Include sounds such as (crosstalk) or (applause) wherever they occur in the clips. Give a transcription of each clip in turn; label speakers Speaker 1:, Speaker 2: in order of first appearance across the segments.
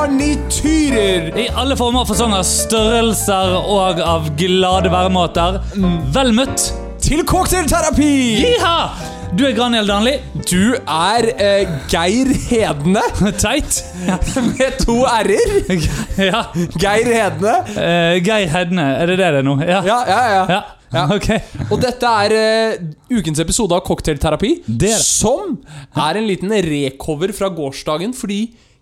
Speaker 1: garnityrer!
Speaker 2: I alle former, fasonger, størrelser og av glade væremåter. Vel møtt.
Speaker 1: Til cocktailterapi!
Speaker 2: Iha! Du er Graniel Danli.
Speaker 1: Du er eh, Geir Hedne (laughs)
Speaker 2: Teit.
Speaker 1: med to r-er.
Speaker 2: Ja.
Speaker 1: Geir Hedne.
Speaker 2: Eh, Geir Hedne, er det det det er nå? Ja.
Speaker 1: Ja, ja, ja.
Speaker 2: Ja.
Speaker 1: Ja.
Speaker 2: Ok.
Speaker 1: Og dette er eh, ukens episode av Cocktailterapi,
Speaker 2: Det er det.
Speaker 1: som er en liten recover fra gårsdagen, fordi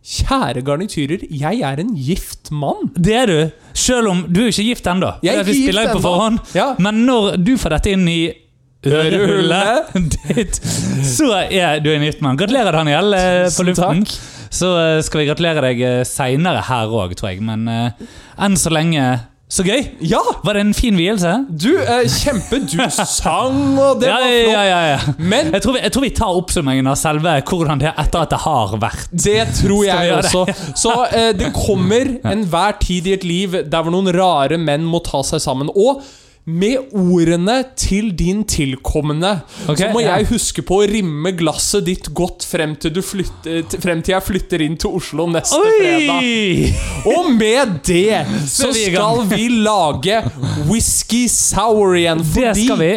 Speaker 1: Kjære garnityrer, jeg er en gift mann.
Speaker 2: Det er du. Selv om du er ikke gift ennå.
Speaker 1: Jeg er ikke
Speaker 2: Vi
Speaker 1: gift
Speaker 2: spiller jo på
Speaker 1: ennå.
Speaker 2: forhånd.
Speaker 1: Ja.
Speaker 2: Men når du får dette inn i
Speaker 1: Ørehullet.
Speaker 2: ørehullet (laughs) ditt, så er du en gift mann. Gratulerer, Daniel, eh, på
Speaker 1: Tusen
Speaker 2: luften.
Speaker 1: takk.
Speaker 2: Så eh, skal vi gratulere deg eh, seinere her òg, tror jeg. Men eh, enn så lenge så gøy!
Speaker 1: Ja!
Speaker 2: Var det en fin vielse?
Speaker 1: Du, eh, kjempe, du sang, og det
Speaker 2: Ja,
Speaker 1: var flott.
Speaker 2: ja, ja, ja.
Speaker 1: Men
Speaker 2: Jeg tror, vi, jeg tror vi tar oppsummeringen av selve hvordan det er etter at det har vært.
Speaker 1: Det tror
Speaker 2: Skal vi
Speaker 1: jeg
Speaker 2: gjøre det?
Speaker 1: også. (laughs) Så eh, det kommer enhver tid i et liv der hvor noen rare menn må ta seg sammen. Og med ordene til din tilkommende
Speaker 2: Ok,
Speaker 1: så må
Speaker 2: ja.
Speaker 1: jeg huske på å rimme glasset ditt godt frem til, du flytter, t- frem til jeg flytter inn til Oslo neste fredag.
Speaker 2: Oi!
Speaker 1: Og med det så
Speaker 2: er vi i
Speaker 1: skal
Speaker 2: gang.
Speaker 1: vi lage whisky sour igjen.
Speaker 2: Det
Speaker 1: Fordi
Speaker 2: skal vi.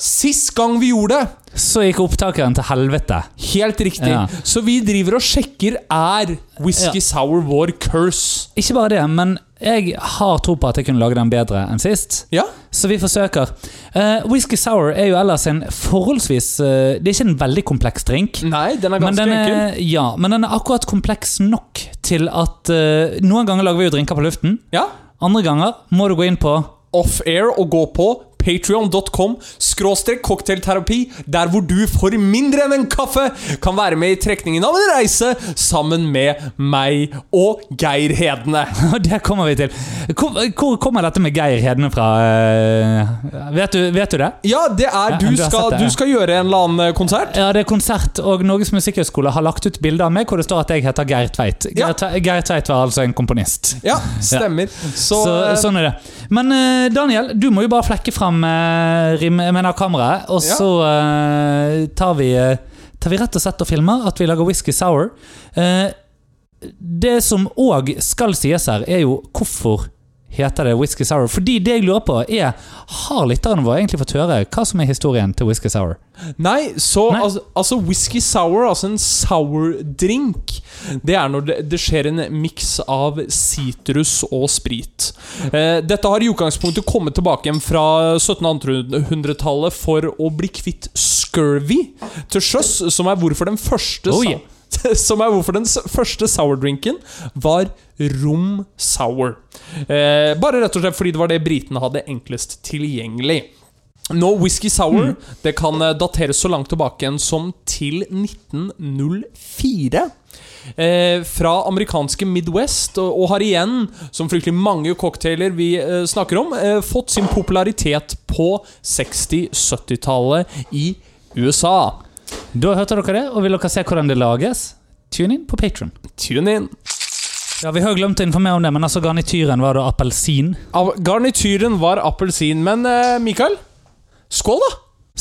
Speaker 1: sist gang vi gjorde det
Speaker 2: Så gikk opptakeren til helvete.
Speaker 1: Helt riktig.
Speaker 2: Ja.
Speaker 1: Så vi driver og sjekker er Whisky
Speaker 2: Ja.
Speaker 1: Sour vår curse.
Speaker 2: Ikke bare det, men jeg har tro på at jeg kunne lage den bedre enn sist.
Speaker 1: Ja,
Speaker 2: Så vi forsøker. Eh, Whisky sour er jo ellers en forholdsvis eh, Det er ikke en veldig kompleks drink.
Speaker 1: Nei, den er
Speaker 2: Men
Speaker 1: ganske
Speaker 2: den, eh,
Speaker 1: enkel.
Speaker 2: er, ja, men den er akkurat kompleks nok til at eh, Noen ganger lager vi jo drinker på luften.
Speaker 1: Ja.
Speaker 2: Andre ganger må du gå inn på (laughs)
Speaker 1: Off-air og gå på patreon.com skråstrek cocktailterapi, der hvor du for mindre enn en kaffe kan være med i trekningen av en reise sammen med meg og Geir Hedene.
Speaker 2: Og det kommer vi til. Hvor, hvor kommer dette med Geir Hedne fra? eh, vet, du, vet du det?
Speaker 1: Ja, det er
Speaker 2: Ja,
Speaker 1: du,
Speaker 2: du har
Speaker 1: skal,
Speaker 2: sett det,
Speaker 1: du
Speaker 2: ja.
Speaker 1: skal gjøre en eller annen eh, konsert.
Speaker 2: Ja, det er konsert, og Norges Musikkhøgskole har lagt ut bilder av meg hvor det står at jeg heter Geir Tveit.
Speaker 1: Ja.
Speaker 2: Geir, Tve- Geir Tveit var altså en komponist.
Speaker 1: Ja, stemmer. Så,
Speaker 2: Så,
Speaker 1: eh,
Speaker 2: sånn er det. Men eh, Daniel, du må jo bare flekke fram eh, rim, jeg mener kameraet, og
Speaker 1: Ja.
Speaker 2: så eh, tar, vi, eh, tar vi rett og slett og filmer at vi lager whisky sour. Eh, det som òg skal sies her, er jo hvorfor heter det whisky sour. Fordi det jeg lurer på, er har lytterne våre egentlig fått høre hva som er historien til whisky sour?
Speaker 1: Nei, så
Speaker 2: Nei.
Speaker 1: Altså, altså whisky sour, altså en sour drink, det er når det, det skjer en miks av sitrus og sprit. Eh, dette har i utgangspunktet kommet tilbake igjen fra 1700-tallet for å bli kvitt scurvy til sjøs, som er hvorfor den første
Speaker 2: Oh,
Speaker 1: sa-
Speaker 2: yeah.
Speaker 1: (laughs) som er hvorfor den s- første sourdrinken var rom sour. Eh, bare rett og slett fordi det var det britene hadde enklest tilgjengelig. Nå, Whisky Sour det kan eh, dateres så langt tilbake igjen som til 1904. Eh, fra amerikanske Midwest, og, og har igjen, som fryktelig mange cocktailer vi eh, snakker om, eh, fått sin popularitet på 60-70-tallet i USA.
Speaker 2: Da hørte dere det, og vil dere se hvordan det lages? Tune inn på Patron.
Speaker 1: Tune in!
Speaker 2: Ja, vi har jo glemt å informere om det, men altså garnityren var da appelsin.
Speaker 1: Av- Garnityren var appelsin, men eh, Mikael, skål, da!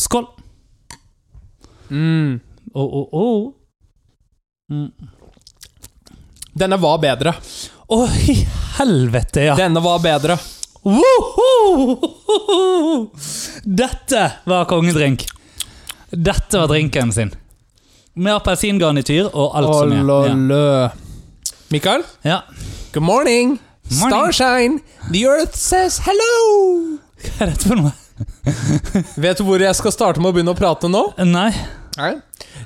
Speaker 2: Skål! Mm. Å, å, å.
Speaker 1: Denne var bedre.
Speaker 2: Å, i helvete, ja!
Speaker 1: Denne var bedre.
Speaker 2: Woho! Dette var kongedrink. Dette var drinken sin. Med appelsingarnityr og alt som er.
Speaker 1: Ololø. Mikael?
Speaker 2: Ja.
Speaker 1: Good morning.
Speaker 2: Morning.
Speaker 1: Starshine. The earth says hello.
Speaker 2: ja. Hva er dette for noe?
Speaker 1: Vet du hvor jeg skal starte med å begynne å prate nå?
Speaker 2: Nei.
Speaker 1: Nei.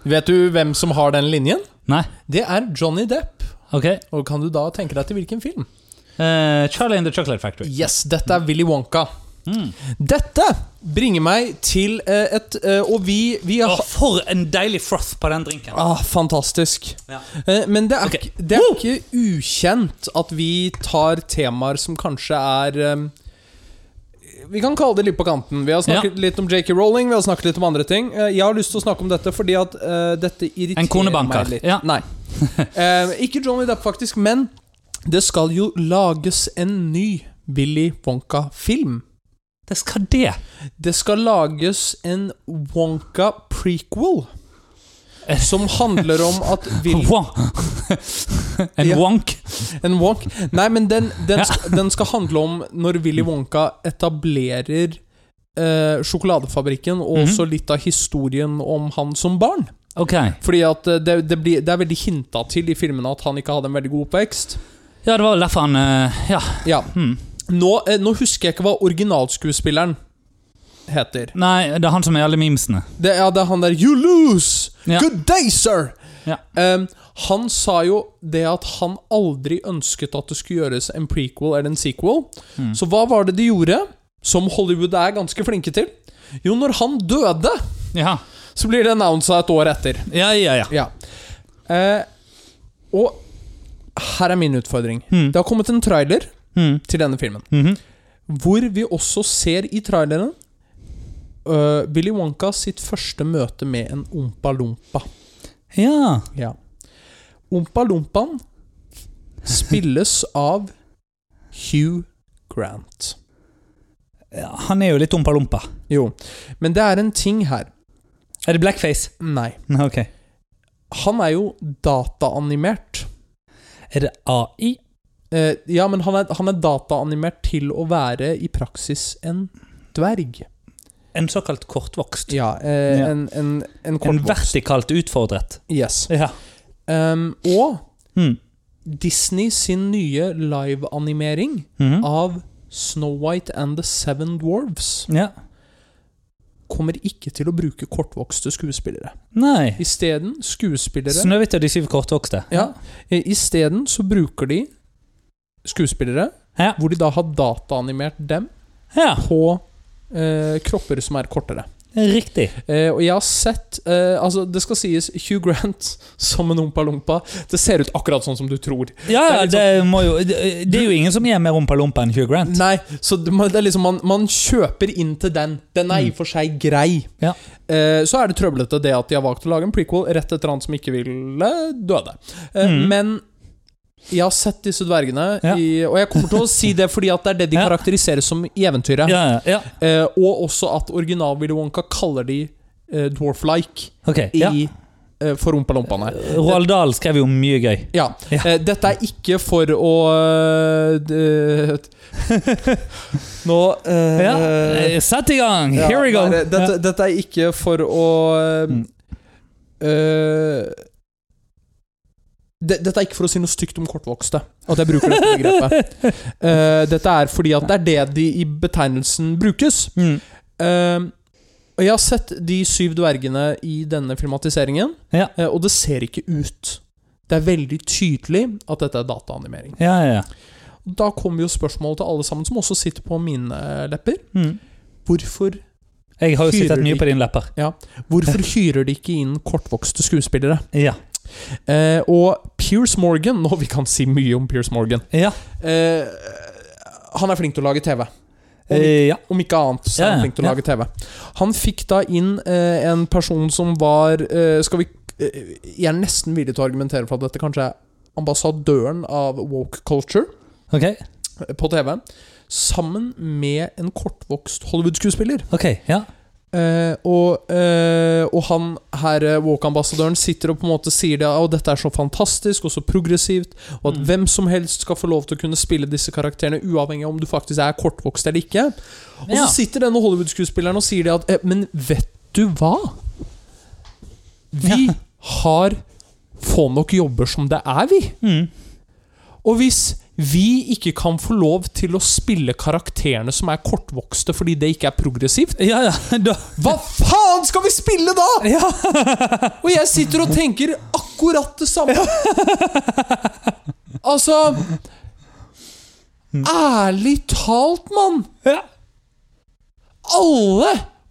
Speaker 1: Vet du hvem som har den linjen?
Speaker 2: Nei.
Speaker 1: Det er Johnny Depp.
Speaker 2: Ok.
Speaker 1: Og kan du da tenke deg til hvilken film?
Speaker 2: Eh, Charlie and the Chocolate Factory.
Speaker 1: Yes, dette er Willy Wonka. Hmm. Dette bringer meg til eh, et eh, Og vi, vi har
Speaker 2: Å, for en deilig froth på den drinken.
Speaker 1: ah, Fantastisk.
Speaker 2: Ja.
Speaker 1: Eh, Men det er,
Speaker 2: Ok.
Speaker 1: ikke, det er ikke ukjent at vi tar temaer som kanskje er eh, Vi kan kalle det litt på kanten. Vi har snakket litt om JK Rowling, vi har snakket litt om andre ting. Eh, Jeg har lyst til å snakke om dette fordi at eh, dette irriterer
Speaker 2: En konebanker,
Speaker 1: meg litt.
Speaker 2: ja. (laughs)
Speaker 1: Nei. Eh, ikke Johnny Depp, faktisk, men det skal jo lages en ny Willy Wonka-film.
Speaker 2: Det skal det.
Speaker 1: Det skal lages en
Speaker 2: (laughs)
Speaker 1: Wonka prequel. Som handler om at Willy
Speaker 2: Wow. (laughs) En
Speaker 1: Ja.
Speaker 2: wonk.
Speaker 1: En wonk. Nei, men den, den,
Speaker 2: Ja.
Speaker 1: sk- den skal handle om når Willy Wonka etablerer eh, sjokoladefabrikken, og
Speaker 2: Mhm.
Speaker 1: også litt av historien om han som barn.
Speaker 2: Ok.
Speaker 1: Fordi at eh, det, det, blir, det er veldig hinta til i filmene at han ikke hadde en veldig god oppvekst.
Speaker 2: Ja, det var vel derfor han eh, Ja.
Speaker 1: Ja.
Speaker 2: Hmm.
Speaker 1: Nå, eh, nå husker jeg ikke hva originalskuespilleren heter.
Speaker 2: Nei, det er han som er alle memesene.
Speaker 1: Det, ja, det er han der You lose!
Speaker 2: Ja.
Speaker 1: Good day, sir!
Speaker 2: Ja.
Speaker 1: Ehm, han sa jo det at han aldri ønsket at det skulle gjøres en prequel eller en sequel.
Speaker 2: Mm.
Speaker 1: Så hva var det de gjorde, som Hollywood er ganske flinke til? Jo, når han døde,
Speaker 2: Ja.
Speaker 1: så blir det annonsa et år etter.
Speaker 2: Ja, ja, ja.
Speaker 1: Ja. Eh, og her er min utfordring.
Speaker 2: Mm.
Speaker 1: Det har kommet en trailer
Speaker 2: Mm.
Speaker 1: til denne filmen.
Speaker 2: Mhm.
Speaker 1: Hvor vi også ser i traileren øh, Willy Wonka sitt første møte med en Ompa Lompa.
Speaker 2: Ja.
Speaker 1: Ja. Ompa Lompaen spilles av Hugh Grant.
Speaker 2: Ja, Han er jo litt ompa-lompa.
Speaker 1: Jo, men det er en ting her.
Speaker 2: Er det blackface? (laughs)
Speaker 1: Nei.
Speaker 2: Nei, Ok.
Speaker 1: Han er jo dataanimert.
Speaker 2: Er det AI?
Speaker 1: Eh, ja, men han er, han er dataanimert til å være i praksis en dverg.
Speaker 2: En såkalt kortvokst?
Speaker 1: Ja, eh,
Speaker 2: Ja.
Speaker 1: en, en, en
Speaker 2: En
Speaker 1: kortvokst.
Speaker 2: vertikalt utfordret?
Speaker 1: Yes.
Speaker 2: Ja.
Speaker 1: Um, og
Speaker 2: Mm.
Speaker 1: Disney sin nye liveanimering
Speaker 2: Mhm.
Speaker 1: av Snow White and the Seven Dwarves
Speaker 2: Ja.
Speaker 1: kommer ikke til å bruke kortvokste skuespillere.
Speaker 2: Nei.
Speaker 1: Isteden skuespillere
Speaker 2: Snøhvit og de syv kortvokste.
Speaker 1: ja, eh, Isteden så bruker de skuespillere
Speaker 2: Ja.
Speaker 1: hvor de da har dataanimert dem
Speaker 2: ja.
Speaker 1: på eh, kropper som er kortere.
Speaker 2: Riktig.
Speaker 1: Eh, og jeg har sett eh, Altså, det skal sies Hugh Grant (laughs) som en ompa-lompa. Det ser ut akkurat sånn som du tror.
Speaker 2: Ja, ja,
Speaker 1: Det
Speaker 2: det må jo Det det er jo ingen som er mer ompa-lompa enn Hugh Grant.
Speaker 1: Nei, så det, man- det er liksom man, man kjøper inn til den. Den er i og for seg grei.
Speaker 2: Mm. Ja.
Speaker 1: Eh, så er det trøblete det at de har valgt å lage en prequel rett etter han som ikke ville døde. Eh,
Speaker 2: Mm.
Speaker 1: Men jeg har sett disse dvergene,
Speaker 2: Ja.
Speaker 1: i, og jeg kommer til å si det fordi at det er det de
Speaker 2: (laughs) Ja.
Speaker 1: karakteriseres som i eventyret.
Speaker 2: Ja, ja, ja.
Speaker 1: Eh, og også at original Willy Wonka kaller de eh, dwarf-like
Speaker 2: Ok.
Speaker 1: i
Speaker 2: Ja.
Speaker 1: eh, For ompa-lompaene.
Speaker 2: Roald Dahl skrev jo mye gøy.
Speaker 1: Ja.
Speaker 2: Ja.
Speaker 1: Eh, dette er ikke for å eh, d- (laughs) Nå eh,
Speaker 2: Ja. eh, Sett i gang!
Speaker 1: ja,
Speaker 2: Here we go!
Speaker 1: nei, dette, dette er ikke for å eh,
Speaker 2: Mm.
Speaker 1: eh, det, dette er ikke for å si noe stygt om kortvokste. At jeg bruker dette
Speaker 2: (laughs)
Speaker 1: begrepet. Eh, dette er fordi at det er det de i betegnelsen brukes.
Speaker 2: Ja. Mm.
Speaker 1: Eh, og jeg har sett De syv dvergene i denne filmatiseringen,
Speaker 2: Ja.
Speaker 1: eh, og det ser ikke ut. Det er veldig tydelig at dette er dataanimering.
Speaker 2: ja, ja, ja.
Speaker 1: Da kommer jo spørsmålet til alle sammen, som også sitter på mine eh, lepper.
Speaker 2: Mm.
Speaker 1: Hvorfor,
Speaker 2: Jeg har jo
Speaker 1: Hyrer
Speaker 2: sittet mye
Speaker 1: de-
Speaker 2: på dine lepper. (laughs)
Speaker 1: hvorfor hyrer de ikke inn kortvokste skuespillere?
Speaker 2: Ja.
Speaker 1: Eh, og Pierce Morgan (laughs) Nå, vi kan si mye om Pierce Morgan.
Speaker 2: Ja.
Speaker 1: Eh, han er flink til å lage TV. Om ikke,
Speaker 2: Eh, ja.
Speaker 1: om ikke annet, så er
Speaker 2: Ja,
Speaker 1: han
Speaker 2: ja,
Speaker 1: flink til å lage TV. Han fikk da inn eh, en person som var eh, Skal vi eh, Jeg er nesten villig til å argumentere for at dette kanskje er ambassadøren av woke culture. eh,
Speaker 2: Ok.
Speaker 1: på TV, sammen med en kortvokst Hollywood-skuespiller.
Speaker 2: ok, ja.
Speaker 1: Eh, og, eh, og han her, eh, Walk-ambassadøren, sitter og på en måte sier det at dette er så fantastisk og så progressivt, og at
Speaker 2: Mm.
Speaker 1: hvem som helst skal få lov til å kunne spille disse karakterene, uavhengig av om du faktisk er kortvokst eller ikke. Og
Speaker 2: ja.
Speaker 1: så sitter denne Hollywood-skuespilleren og sier det at eh, Men vet du hva? Vi har få nok jobber som det er, vi.
Speaker 2: Mm.
Speaker 1: Og hvis vi ikke kan få lov til å spille karakterene som er kortvokste fordi det ikke er progressivt,
Speaker 2: ja, ja. (laughs) Da.
Speaker 1: hva faen skal vi spille da?!
Speaker 2: Ja.
Speaker 1: Og jeg sitter og tenker akkurat det samme. Altså Ærlig talt, mann!
Speaker 2: ja.
Speaker 1: Alle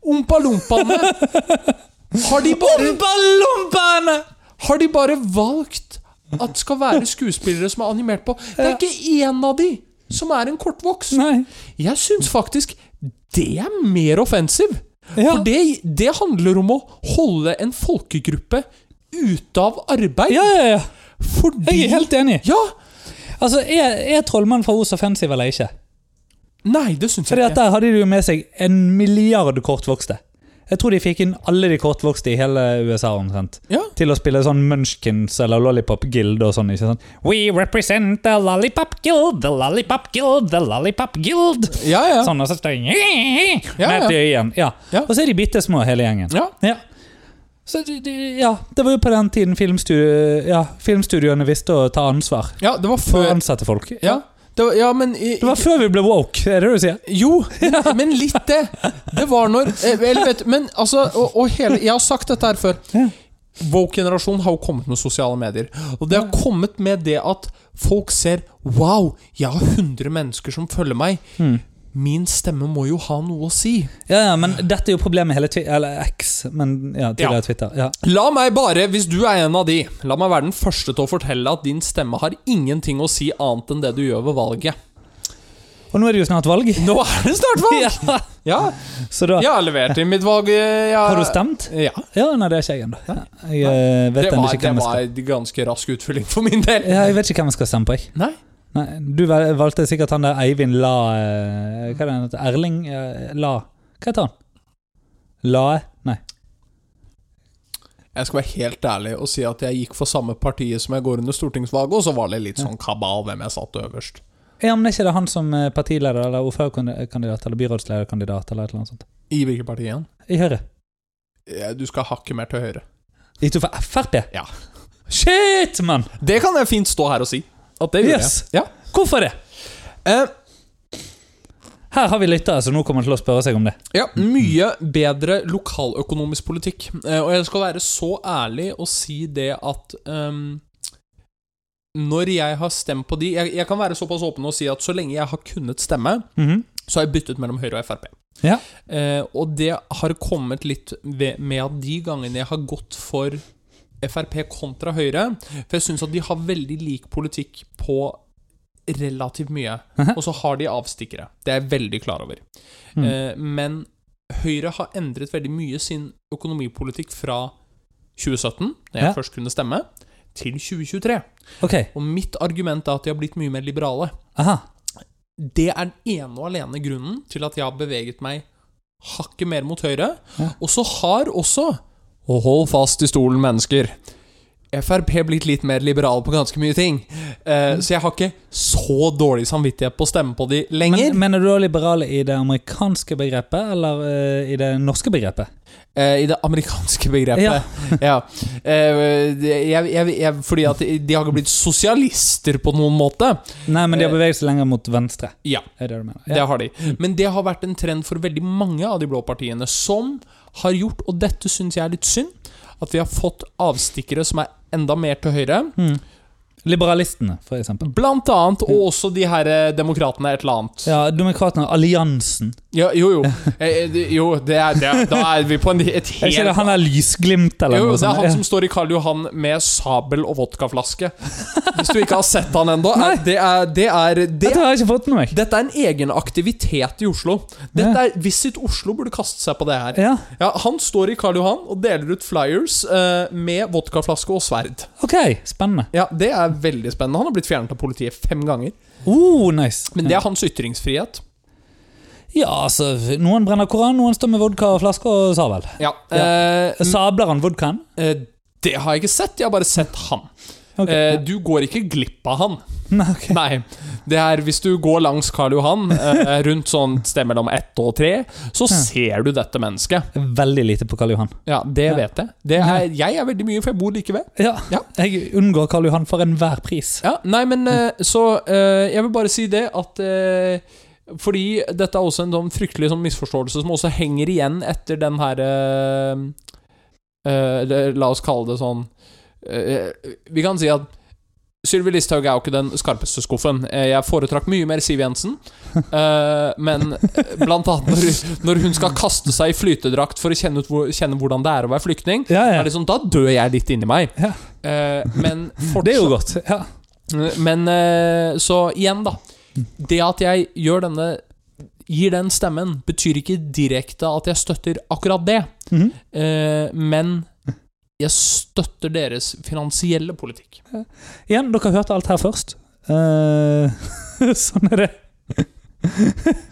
Speaker 1: ompa-lompaene har, de bare-
Speaker 2: Ompa-lompaene!
Speaker 1: har de bare valgt at skal være skuespillere som er animert på. Det er ikke én av de som er en kortvokst.
Speaker 2: Nei.
Speaker 1: Jeg syns faktisk det er mer offensiv.
Speaker 2: Ja.
Speaker 1: For det, det handler om å holde en folkegruppe ute av arbeid.
Speaker 2: ja, ja, ja.
Speaker 1: Fordi
Speaker 2: Jeg er helt enig.
Speaker 1: Ja!
Speaker 2: Altså, Er, er Trollmann fra Os offensiv eller ikke?
Speaker 1: Nei, det syns
Speaker 2: Fordi at
Speaker 1: jeg ikke.
Speaker 2: Der hadde de jo med seg en milliard kortvokste. Jeg tror de fikk inn alle de kortvokste i hele USA omtrent.
Speaker 1: Ja.
Speaker 2: Til å spille sånn Munchkins eller Lollipop Guild og sånn. ikke sant? We represent the Lollipop Guild, the Lollipop Guild, the Lollipop Guild.
Speaker 1: Ja, ja.
Speaker 2: Sånn, og så står de
Speaker 1: Ja, ja.
Speaker 2: Ned til øyen. Ja.
Speaker 1: Ja.
Speaker 2: Og så er de bitte små, hele gjengen.
Speaker 1: Ja.
Speaker 2: Ja. Så de, de, ja, det var jo på den tiden filmstudio, ja, filmstudioene visste å ta ansvar.
Speaker 1: ja, det var
Speaker 2: For å
Speaker 1: før
Speaker 2: ansette folk.
Speaker 1: Ja, det var, ja men i,
Speaker 2: Det var før vi ble woke, er det det du sier?
Speaker 1: Jo, men litt det. Det var når eh, vel, vet, du, Men altså, og, og hele Jeg har sagt dette her før.
Speaker 2: Ja.
Speaker 1: Woke-generasjonen har jo kommet med sosiale medier. Og det har kommet med det at folk ser Wow, jeg har 100 mennesker som følger meg.
Speaker 2: Hmm.
Speaker 1: Min stemme må jo ha noe å si.
Speaker 2: Ja, ja, men dette er jo problemet med hele Twi eller X, men ja, tidligere
Speaker 1: Ja.
Speaker 2: Twitter. Ja.
Speaker 1: La meg bare, hvis du er en av de, la meg være den første til å fortelle at din stemme har ingenting å si annet enn det du gjør ved valget.
Speaker 2: Og nå er det jo snart valg.
Speaker 1: Nå er det snart valg!
Speaker 2: (laughs) Ja,
Speaker 1: Ja,
Speaker 2: så da
Speaker 1: jeg har levert inn mitt valg. eh, Jeg,
Speaker 2: Har du stemt?
Speaker 1: Ja.
Speaker 2: Ja, nei, det har ikke jeg ennå. Ja, Jeg eh, vet
Speaker 1: Det
Speaker 2: ennå
Speaker 1: var,
Speaker 2: ikke
Speaker 1: det
Speaker 2: hvem jeg
Speaker 1: var
Speaker 2: skal
Speaker 1: en ganske rask utfylling for min del.
Speaker 2: ja, Jeg vet ikke hvem jeg skal stemme på. Jeg.
Speaker 1: Nei.
Speaker 2: Nei, du vel- valgte sikkert han der Eivind La eh, Hva er det han heter? Erling eh, La Hva heter han? Lae? Nei.
Speaker 1: Jeg skal være helt ærlig og si at jeg gikk for samme partiet som jeg går under stortingsvalget, og så var det litt sånn kabal hvem jeg satt øverst.
Speaker 2: Ja, men Er ikke det han som eh, partileder eller ordførerkandidat eller byrådslederkandidat? eller et eller annet sånt?
Speaker 1: I hvilket parti igjen?
Speaker 2: I Høyre.
Speaker 1: Eh, Du skal hakke mer til høyre.
Speaker 2: Gikk du for Frp?
Speaker 1: Ja.
Speaker 2: Shit, mann!
Speaker 1: Det kan jeg fint stå her og si. At det gjorde
Speaker 2: Yes.
Speaker 1: jeg. Ja.
Speaker 2: Hvorfor det?
Speaker 1: Eh,
Speaker 2: Her har vi lyttere, så nå kommer han til å spørre seg om det.
Speaker 1: Ja, mye bedre lokaløkonomisk politikk. Eh, og jeg skal være så ærlig og si det at ehm, Når jeg har stemt på de jeg, jeg kan være såpass åpen og si at så lenge jeg har kunnet stemme,
Speaker 2: Mhm.
Speaker 1: så har jeg byttet mellom Høyre og Frp.
Speaker 2: Ja.
Speaker 1: Eh, og det har kommet litt ved, med at de gangene jeg har gått for Frp kontra Høyre For jeg syns at de har veldig lik politikk på relativt mye.
Speaker 2: Mhm.
Speaker 1: Og så har de avstikkere. Det er jeg veldig klar over.
Speaker 2: Mm.
Speaker 1: Eh, men Høyre har endret veldig mye sin økonomipolitikk fra 2017, da jeg
Speaker 2: Ja.
Speaker 1: først kunne stemme, til 2023.
Speaker 2: Ok,
Speaker 1: Og mitt argument er at de har blitt mye mer liberale.
Speaker 2: aha.
Speaker 1: Det er den ene og alene grunnen til at jeg har beveget meg hakket mer mot høyre.
Speaker 2: Ja.
Speaker 1: Og så har også Og hold fast i stolen, mennesker. Frp blitt litt mer liberal på ganske mye ting.
Speaker 2: Mm.
Speaker 1: Eh, Så jeg har ikke så dårlig samvittighet på å stemme på de lenger.
Speaker 2: Men, mener du da liberale i det amerikanske begrepet, eller eh, i det norske begrepet?
Speaker 1: Eh, I det amerikanske begrepet.
Speaker 2: Ja.
Speaker 1: (laughs) Ja. Eh, det- jeg, jeg, jeg, fordi at de har ikke blitt sosialister på noen måte.
Speaker 2: Nei, men
Speaker 1: Eh.
Speaker 2: de har beveget seg lenger mot venstre.
Speaker 1: Ja,
Speaker 2: Er det det du mener?
Speaker 1: det
Speaker 2: Ja. Mm.
Speaker 1: har de. Men det har vært en trend for veldig mange av de blå partiene, som har gjort, og dette syns jeg er litt synd, at vi har fått avstikkere som er enda mer til høyre.
Speaker 2: Mm. Liberalistene, for eksempel.
Speaker 1: Blant annet, og også de her eh, demokratene et eller annet.
Speaker 2: Mm. Ja, Demokratene, alliansen.
Speaker 1: Ja, jo,
Speaker 2: (laughs)
Speaker 1: jo. Eh, eh, det- Jo, det er det. Da er vi på en, et
Speaker 2: Er ikke det
Speaker 1: helt
Speaker 2: han der lysglimt, eller
Speaker 1: jo,
Speaker 2: noe
Speaker 1: det er
Speaker 2: sånt?
Speaker 1: han som står i Karl Johan med sabel og
Speaker 2: (laughs)
Speaker 1: vodkaflaske. Hvis du ikke har sett han ennå. eh, Det er, det er,
Speaker 2: Ja.
Speaker 1: det
Speaker 2: Dette har jeg ikke fått med meg.
Speaker 1: Dette er en egen aktivitet i Oslo. Dette er, Visit Oslo burde kaste seg på det her.
Speaker 2: Ja,
Speaker 1: Ja, Han står i Karl Johan og deler ut flyers eh, med vodkaflaske og sverd.
Speaker 2: ok, spennende.
Speaker 1: Ja, Det er veldig spennende. Han har blitt fjernet av politiet fem ganger.
Speaker 2: Oh, nice.
Speaker 1: Men det er hans ytringsfrihet.
Speaker 2: Ja, altså, noen brenner koran, noen står med vodka og flasker og sabel.
Speaker 1: Ja, eh,
Speaker 2: Sabler han vodkaen? (laughs)
Speaker 1: eh, Det har jeg ikke sett, jeg har bare sett han.
Speaker 2: Ok.
Speaker 1: Eh, du går ikke glipp av han.
Speaker 2: Nei, ok.
Speaker 1: Nei. Det er Hvis du går langs Karl Johan, eh, rundt sånn et sted mellom ett og tre, så ser du dette mennesket.
Speaker 2: Veldig lite på Karl Johan.
Speaker 1: Ja, det vet jeg. Det er, jeg er veldig mye, for jeg bor like ved.
Speaker 2: Ja.
Speaker 1: Ja.
Speaker 2: Jeg unngår Karl Johan for enhver pris.
Speaker 1: Ja, nei, men eh, så eh, Jeg vil bare si det at eh, Fordi dette er også en sånn fryktelig sånn misforståelse som også henger igjen etter den her eh, eh, eller La oss kalle det sånn eh, Vi kan si at Sylvi Listhaug er jo ikke den skarpeste skuffen. Eh, Jeg foretrakk mye mer Siv Jensen. Eh, men blant annet når, når hun skal kaste seg i flytedrakt for å kjenne, ut hvor, kjenne hvordan det er å være flyktning,
Speaker 2: Ja,
Speaker 1: er det sånn, da dør jeg litt inni meg.
Speaker 2: Ja.
Speaker 1: Eh, men
Speaker 2: (laughs) Det er
Speaker 1: fortsatt
Speaker 2: jo godt. Ja.
Speaker 1: men eh, så igjen, da. Det at jeg gjør denne Gir den stemmen, betyr ikke direkte at jeg støtter akkurat det.
Speaker 2: Mhm.
Speaker 1: Eh, men jeg støtter deres finansielle
Speaker 2: (laughs)
Speaker 1: politikk.
Speaker 2: Igjen, dere hørte alt her først. Eh, (laughs) sånn er det.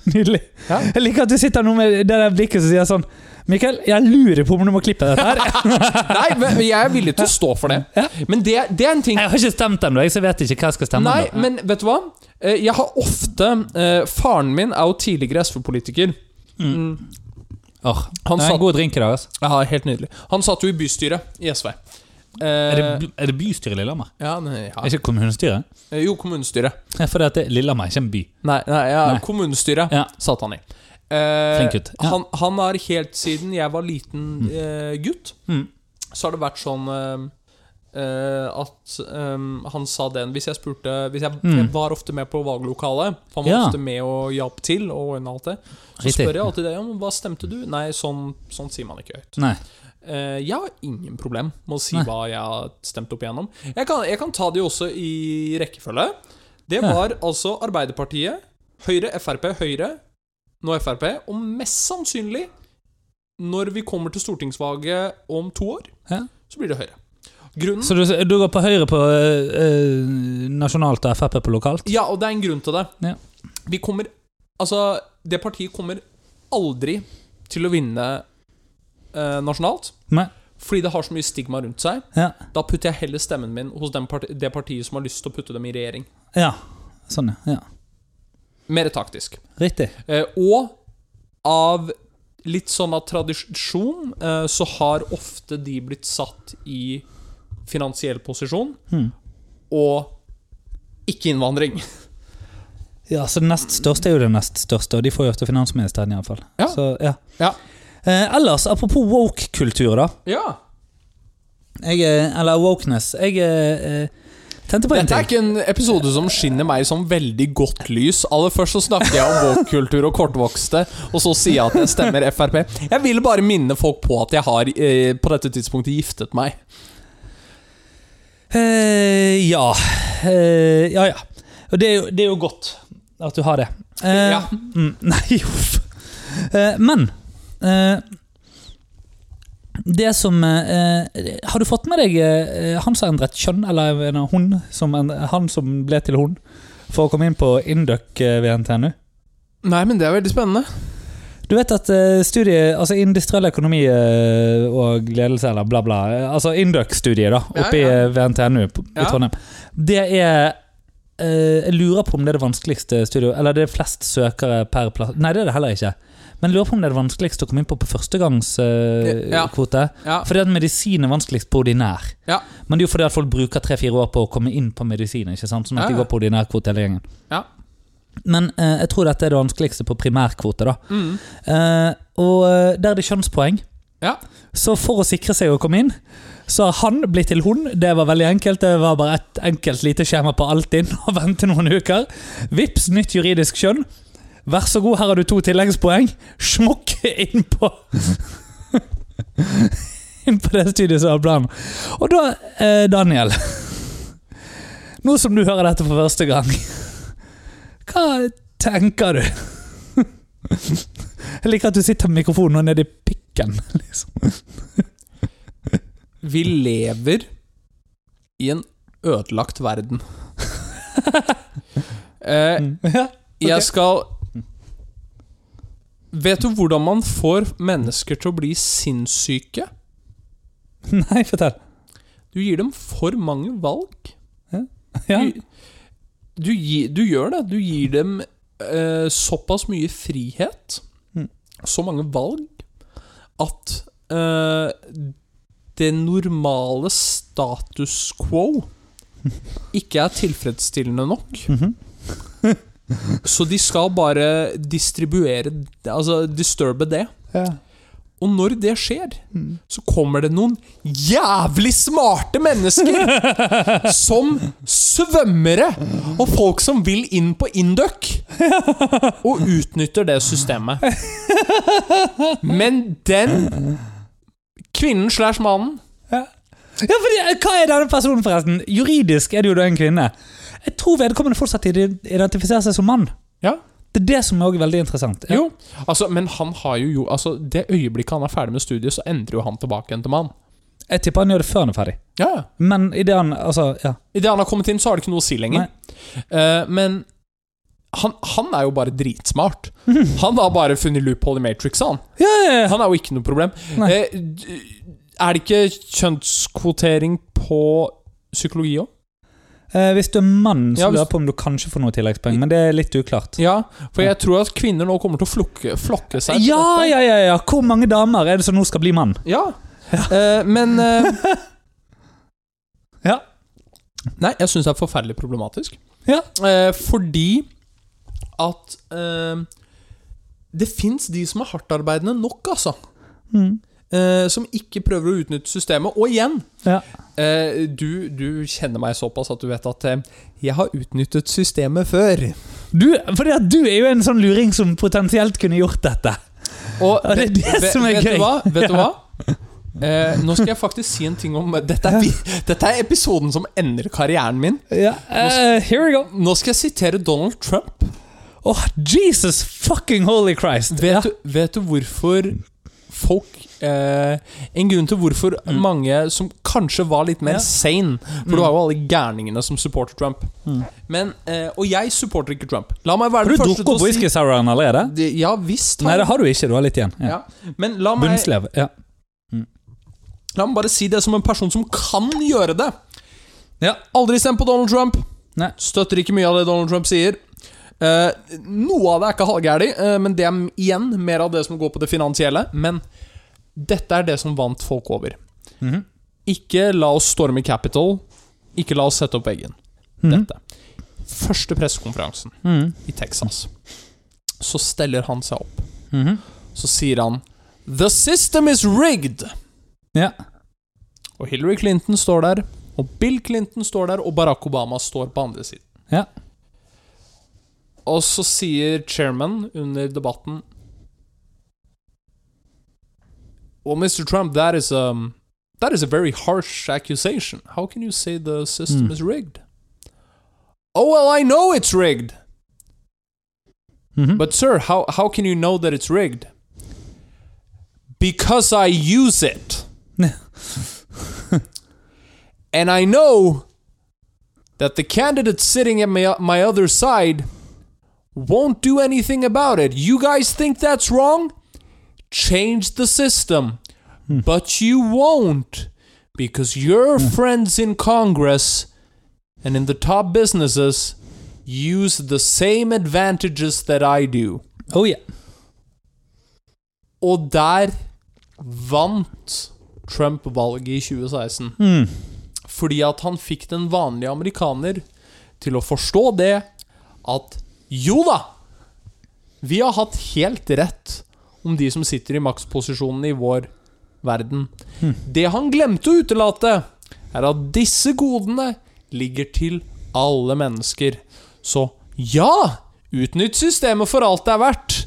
Speaker 2: Nydelig.
Speaker 1: Ja.
Speaker 2: Jeg liker at du sitter nå med det der blikket som sier sånn Mikael, jeg lurer på om du må klippe dette her.
Speaker 1: Nei, men jeg er villig til å stå for det.
Speaker 2: Ja.
Speaker 1: Men det, det er en ting
Speaker 2: (laughs) Jeg har ikke stemt ennå, jeg, så jeg vet ikke hva jeg skal stemme.
Speaker 1: Nei,
Speaker 2: ennå.
Speaker 1: men vet du hva? Eh, Jeg har ofte eh, Faren min er jo tidligere Mm. SV-politiker.
Speaker 2: Mm. Åh,
Speaker 1: Han
Speaker 2: det er
Speaker 1: satt-
Speaker 2: en god drink i dag, altså.
Speaker 1: Ja, helt nydelig. Han satt jo i bystyret i SV. Eh,
Speaker 2: Er det, by- er det bystyret i Lillehammer?
Speaker 1: ja, nei, ja.
Speaker 2: Er det ikke kommunestyret?
Speaker 1: Eh, Jo, kommunestyret.
Speaker 2: Ja, For det at det- Lillehammer er ikke en by.
Speaker 1: Nei, nei, ja,
Speaker 2: Nei.
Speaker 1: kommunestyret
Speaker 2: Ja.
Speaker 1: satt han i. Eh,
Speaker 2: Flink gutt. Ja.
Speaker 1: Han, han har helt siden jeg var liten eh, gutt,
Speaker 2: Mm.
Speaker 1: så har det vært sånn eh, eh, at eh, han sa den Hvis jeg spurte Hvis jeg, jeg var ofte med på valglokalet, for han var
Speaker 2: Mm. Ja.
Speaker 1: ofte med og hjalp til, og ordnet alt det, så
Speaker 2: Riktig.
Speaker 1: spør jeg alltid det. Ja, men hva stemte du? Nei, sånn, sånn sier man ikke høyt.
Speaker 2: Nei.
Speaker 1: Eh, jeg har ingen problem med å si
Speaker 2: Nei.
Speaker 1: hva jeg har stemt opp igjennom. Jeg kan, jeg kan ta de også i rekkefølge. Det
Speaker 2: Ja.
Speaker 1: var altså Arbeiderpartiet, Høyre, Frp, Høyre, nå Frp, og mest sannsynlig, når vi kommer til stortingsvalget om to år,
Speaker 2: Ja.
Speaker 1: så blir det Høyre. Grunnen
Speaker 2: Så du, du går på høyre på eh, eh, nasjonalt og Frp på lokalt?
Speaker 1: Ja, og det er en grunn til det.
Speaker 2: Ja.
Speaker 1: Vi kommer Altså, det partiet kommer aldri til å vinne eh, nasjonalt,
Speaker 2: Nei.
Speaker 1: fordi det har så mye stigma rundt seg.
Speaker 2: Ja.
Speaker 1: Da putter jeg heller stemmen min hos den parti det partiet som har lyst til å putte dem i regjering.
Speaker 2: ja. Sånn, ja.
Speaker 1: Mer taktisk.
Speaker 2: Riktig.
Speaker 1: Eh, og av litt sånn av tradisjon eh, så har ofte de blitt satt i finansiell posisjon
Speaker 2: Hmm.
Speaker 1: og ikke innvandring.
Speaker 2: Ja, så den nest største er jo den nest største, og de får jo ofte finansministeren iallfall.
Speaker 1: Ja.
Speaker 2: Så, ja.
Speaker 1: Ja.
Speaker 2: Eh, ellers, apropos woke-kultur, da.
Speaker 1: ja.
Speaker 2: Jeg, eh, eller wokeness. Jeg eh, tenkte på en
Speaker 1: Dette er
Speaker 2: ting.
Speaker 1: ikke en episode som skinner meg som veldig godt lys. Aller først så snakker jeg om (laughs) woke-kultur og kortvokste, og så sier jeg at jeg stemmer Frp. Jeg vil bare minne folk på at jeg har eh, på dette tidspunktet giftet meg.
Speaker 2: Eh, ja. Eh, ja, ja. Og det er, jo, det er jo godt at du har det. Eh,
Speaker 1: Ja.
Speaker 2: Mm, (laughs) nei, uff. Eh, men eh, Det som eh, eh, Har du fått med deg eh, han som endret kjønn, eller en hun som, en, han som ble til hun, for å komme inn på Induc eh, ved NTNU?
Speaker 1: Nei, men det er veldig spennende.
Speaker 2: Du vet at eh, studiet, altså industriell økonomi eh, og ledelse, eller bla bla, eh, altså Induc-studiet da,
Speaker 1: Ja,
Speaker 2: oppe
Speaker 1: ja.
Speaker 2: i eh, ved NTNU på- i
Speaker 1: Ja.
Speaker 2: Trondheim, det er eh, Jeg lurer på om det er det vanskeligste studiet, eller det er flest søkere per plass Nei, det er det heller ikke. Men jeg lurer på om det er det vanskeligste å komme inn på på
Speaker 1: Ja.
Speaker 2: førstegangskvote.
Speaker 1: Ja.
Speaker 2: Fordi at medisin er vanskeligst på ordinær.
Speaker 1: Ja.
Speaker 2: Men det er jo fordi at folk bruker tre-fire år på å komme inn på medisin. ikke sant? Sånn at
Speaker 1: Ja,
Speaker 2: de
Speaker 1: ja.
Speaker 2: går på ordinær kvote hele gjengen.
Speaker 1: Ja.
Speaker 2: Men eh, jeg tror dette er det vanskeligste på primærkvote. da.
Speaker 1: Mm.
Speaker 2: Eh, og eh, der er det kjønnspoeng.
Speaker 1: Ja.
Speaker 2: Så for å sikre seg å komme inn, så har han blitt til hun. Det var veldig enkelt. Det var bare et enkelt lite skjema på alt inn (laughs) og vente noen uker. Vips, nytt juridisk kjønn. Vær så god, her har du to tilleggspoeng. Smokk inn på (laughs) Inn på det studiet som har planen. Og da, eh, Daniel (laughs) Nå som du hører dette for første gang, (laughs) hva tenker du? (laughs) Jeg liker at du sitter med mikrofonen og ned i pikken. (laughs) Liksom.
Speaker 1: Vi lever i en ødelagt verden. (laughs) eh,
Speaker 2: Ja.
Speaker 1: Jeg skal Vet du hvordan man får mennesker til å bli sinnssyke?
Speaker 2: Nei, fortell.
Speaker 1: Du gir dem for mange valg.
Speaker 2: Ja.
Speaker 1: Du, du, gi- du gjør det. Du gir dem eh, såpass mye frihet,
Speaker 2: Mm.
Speaker 1: så mange valg, at eh, det normale status
Speaker 2: (laughs)
Speaker 1: quo ikke er tilfredsstillende nok.
Speaker 2: Mhm.
Speaker 1: (laughs) så de skal bare distribuere Altså disturbe det.
Speaker 2: Ja.
Speaker 1: Og når det skjer, så kommer det noen jævlig smarte mennesker (laughs) som svømmere og folk som vil inn på (laughs) Induc og utnytter det systemet. Men den kvinnen slash mannen
Speaker 2: Ja, fordi, eh, Hva er denne personen, forresten? Juridisk er det jo da en kvinne. Jeg tror vedkommende fortsatt ide- identifiserer seg som mann.
Speaker 1: Ja.
Speaker 2: Det er det som er også veldig interessant. Ja.
Speaker 1: Jo, altså, men han har jo jo altså, Det øyeblikket han er ferdig med studiet, så endrer jo han tilbake igjen til mann.
Speaker 2: Jeg tipper han gjør det før han er ferdig.
Speaker 1: Ja, ja.
Speaker 2: Men i det han Altså, ja.
Speaker 1: Idet han har kommet inn, så har det ikke noe å si lenger. Eh, men han, han er jo bare dritsmart. Han har bare funnet loophole i Matrix, han.
Speaker 2: Ja, ja, ja.
Speaker 1: Han er jo ikke noe problem.
Speaker 2: Nei.
Speaker 1: Eh, d- er det ikke kjønnskvotering på psykologi òg?
Speaker 2: Eh, hvis du er mann, så
Speaker 1: Ja, hvis-
Speaker 2: lurer jeg på om du kanskje får noe tilleggspoeng, men det er litt uklart.
Speaker 1: Ja, for jeg tror at kvinner nå kommer til å flokke, flokke seg. til
Speaker 2: Ja,
Speaker 1: dette.
Speaker 2: ja, ja, ja! Hvor mange damer er det som nå skal bli mann?
Speaker 1: ja. Eh, men eh, (laughs)
Speaker 2: Ja.
Speaker 1: Nei, jeg syns det er forferdelig problematisk.
Speaker 2: Ja.
Speaker 1: Eh, fordi at eh, det fins de som er hardtarbeidende nok, altså.
Speaker 2: Mm.
Speaker 1: Eh, som ikke prøver å utnytte systemet. Og igjen,
Speaker 2: Ja.
Speaker 1: eh, du, du kjenner meg såpass at du vet at eh, jeg har utnyttet systemet før.
Speaker 2: Du, fordi at du er jo en sånn luring som potensielt kunne gjort dette.
Speaker 1: Og
Speaker 2: Ja, det er
Speaker 1: vet-
Speaker 2: det
Speaker 1: vet-
Speaker 2: som er
Speaker 1: vet
Speaker 2: gøy.
Speaker 1: Du hva? Vet du hva? Eh, nå skal jeg faktisk si en ting om dette er, vi- dette er episoden som ender karrieren min.
Speaker 2: Ja, eh, here we go.
Speaker 1: Nå skal jeg sitere Donald Trump.
Speaker 2: Åh, Jesus fucking holy Christ.
Speaker 1: Vet, du, vet du hvorfor folk eh, En grunn til hvorfor mange som kanskje var litt mer
Speaker 2: Mm. Ja.
Speaker 1: sane For det var jo alle gærningene som supporter Trump.
Speaker 2: Mm.
Speaker 1: Men, eh, og jeg supporter ikke Trump. La meg
Speaker 2: Har
Speaker 1: være
Speaker 2: du
Speaker 1: den første
Speaker 2: drukket
Speaker 1: til å
Speaker 2: opp
Speaker 1: si
Speaker 2: whisky soureren allerede?
Speaker 1: Det- Ja visst.
Speaker 2: Nei,
Speaker 1: han-
Speaker 2: det har du ikke. Du har litt igjen. Ja.
Speaker 1: ja. Men la meg,
Speaker 2: Bunnslev. Ja.
Speaker 1: la meg bare si det som en person som kan gjøre det.
Speaker 2: ja.
Speaker 1: Aldri stem på Donald Trump.
Speaker 2: Nei.
Speaker 1: Støtter ikke mye av det Donald Trump sier. Eh, noe av det er ikke halvgærlig, eh, men det er m- igjen mer av det som går på det finansielle. Men dette er det som vant folk over.
Speaker 2: Mhm.
Speaker 1: Ikke la oss storme Capitol. Ikke la oss sette opp veggen.
Speaker 2: Mhm.
Speaker 1: Dette. Første pressekonferansen
Speaker 2: Mhm.
Speaker 1: i Texas. Så steller han seg opp.
Speaker 2: Mhm.
Speaker 1: Så sier han The system is rigged!
Speaker 2: Ja.
Speaker 1: Og Hillary Clinton står der, og Bill Clinton står der, og Barack Obama står på andre siden.
Speaker 2: Ja.
Speaker 1: Og så sier chairman under debatten Well, Mr. Trump, that is a, that is a very harsh accusation. How can you say the system
Speaker 2: Mm.
Speaker 1: is rigged? Oh, well, I know it's rigged.
Speaker 2: Mhm.
Speaker 1: But, sir, how, how can you know that it's rigged? Because I use it. and I know that the candidate sitting at my, my other side won't do anything about it. You guys think that's wrong? Change the system. But you won't because your friends in Congress and in the top businesses use the same advantages that I do.
Speaker 2: Oh yeah.
Speaker 1: Og der vant Trump valget i 2016.
Speaker 2: Mm.
Speaker 1: Fordi at han fikk den vanlige amerikaner til å forstå det at jo da, vi har hatt helt rett om de som sitter i maksposisjonene i vår verden. Det han glemte å utelate, er at disse godene ligger til alle mennesker. Så ja, utnytt systemet for alt det er verdt.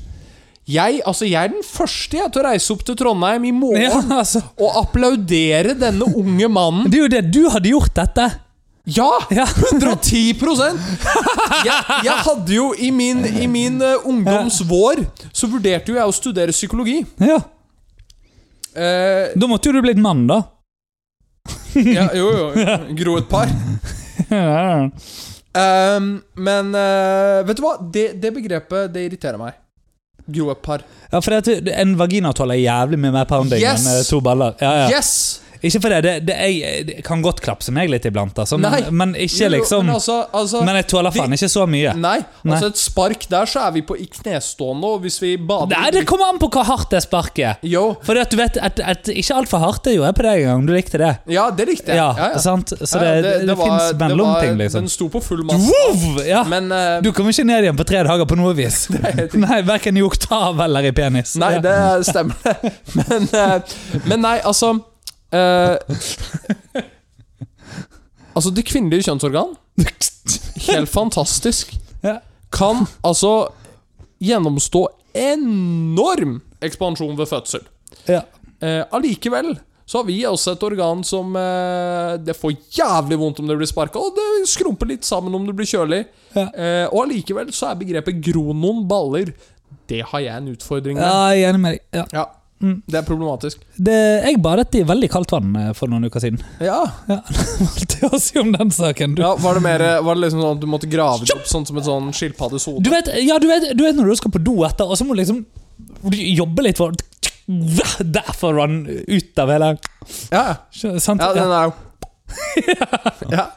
Speaker 1: Jeg, altså, jeg er den første jeg til å reise opp til Trondheim i morgen
Speaker 2: ja, (laughs) altså.
Speaker 1: og applaudere denne unge mannen
Speaker 2: Det er jo det du hadde gjort dette.
Speaker 1: ja!
Speaker 2: Ja. (laughs)
Speaker 1: 110 jeg, jeg hadde jo i min, i min eh, ungdoms vår Så vurderte jo jeg å studere psykologi.
Speaker 2: Ja.
Speaker 1: Eh,
Speaker 2: Da måtte jo du blitt mann, da.
Speaker 1: ja, jo, jo. Gro et par.
Speaker 2: (laughs) Ja.
Speaker 1: Ehm, men eh, vet du hva? Det, det begrepet det irriterer meg. Gro et par.
Speaker 2: Ja, for det, at En vaginatål er jævlig mye mer pounding
Speaker 1: Yes!
Speaker 2: enn eh, to baller. Ja, ja.
Speaker 1: Yes!
Speaker 2: Ikke for det, det, det jeg, det kan godt klapse meg litt iblant, altså, men,
Speaker 1: Nei.
Speaker 2: men ikke liksom
Speaker 1: Men altså, altså
Speaker 2: Men jeg tåler
Speaker 1: vi-
Speaker 2: faen ikke så mye.
Speaker 1: Nei.
Speaker 2: Nei.
Speaker 1: Altså, et spark der, så er vi på i knestående, og hvis vi bader
Speaker 2: Nei, det kommer an på hvor hardt det sparket.
Speaker 1: Yo.
Speaker 2: For at du vet, et, et, ikke altfor hardt det gjorde jeg på deg en gang. Du likte det.
Speaker 1: Ja, det likte jeg.
Speaker 2: Ja,
Speaker 1: Ja, ja.
Speaker 2: sant? Så
Speaker 1: Ja,
Speaker 2: det,
Speaker 1: ja,
Speaker 2: det, det,
Speaker 1: var-
Speaker 2: fins
Speaker 1: det var-
Speaker 2: mellomting, liksom.
Speaker 1: Den sto på full masse.
Speaker 2: Wow! Ja.
Speaker 1: Men eh,
Speaker 2: Du kommer ikke ned igjen på tre dager på noe vis.
Speaker 1: (laughs)
Speaker 2: Nei, Verken i oktav eller i penis.
Speaker 1: Nei,
Speaker 2: Ja.
Speaker 1: det stemmer. det. Men, eh, men nei, altså eh, Altså, det kvinnelige kjønnsorgan, helt fantastisk,
Speaker 2: (laughs) Ja.
Speaker 1: kan altså gjennomstå enorm ekspansjon ved fødsel.
Speaker 2: Ja.
Speaker 1: Eh, Allikevel så har vi også et organ som eh, Det får jævlig vondt om det blir sparka, og det skrumper litt sammen om det blir kjølig.
Speaker 2: Ja.
Speaker 1: Eh, og allikevel så er begrepet 'gro noen baller' Det har jeg en utfordring med.
Speaker 2: Ja, jeg er enig med deg. Ja.
Speaker 1: Ja.
Speaker 2: Mm.
Speaker 1: Det er problematisk.
Speaker 2: Det, jeg badet i veldig kaldt vann eh, for noen uker siden.
Speaker 1: Ja,
Speaker 2: (laughs) Alt å si om den saken. Du,
Speaker 1: ja Var det mer Var det liksom sånn at du måtte grave det opp sånn som et sånn skilpaddes hode?
Speaker 2: du, vet, ja, du, vet, du vet når du skal på do etter, og så må du liksom du jobbe litt for (laughs) Derfor rann ut av hele
Speaker 1: Ja, ja.
Speaker 2: Sant?
Speaker 1: Ja, den
Speaker 2: Ja.
Speaker 1: er jo Ja.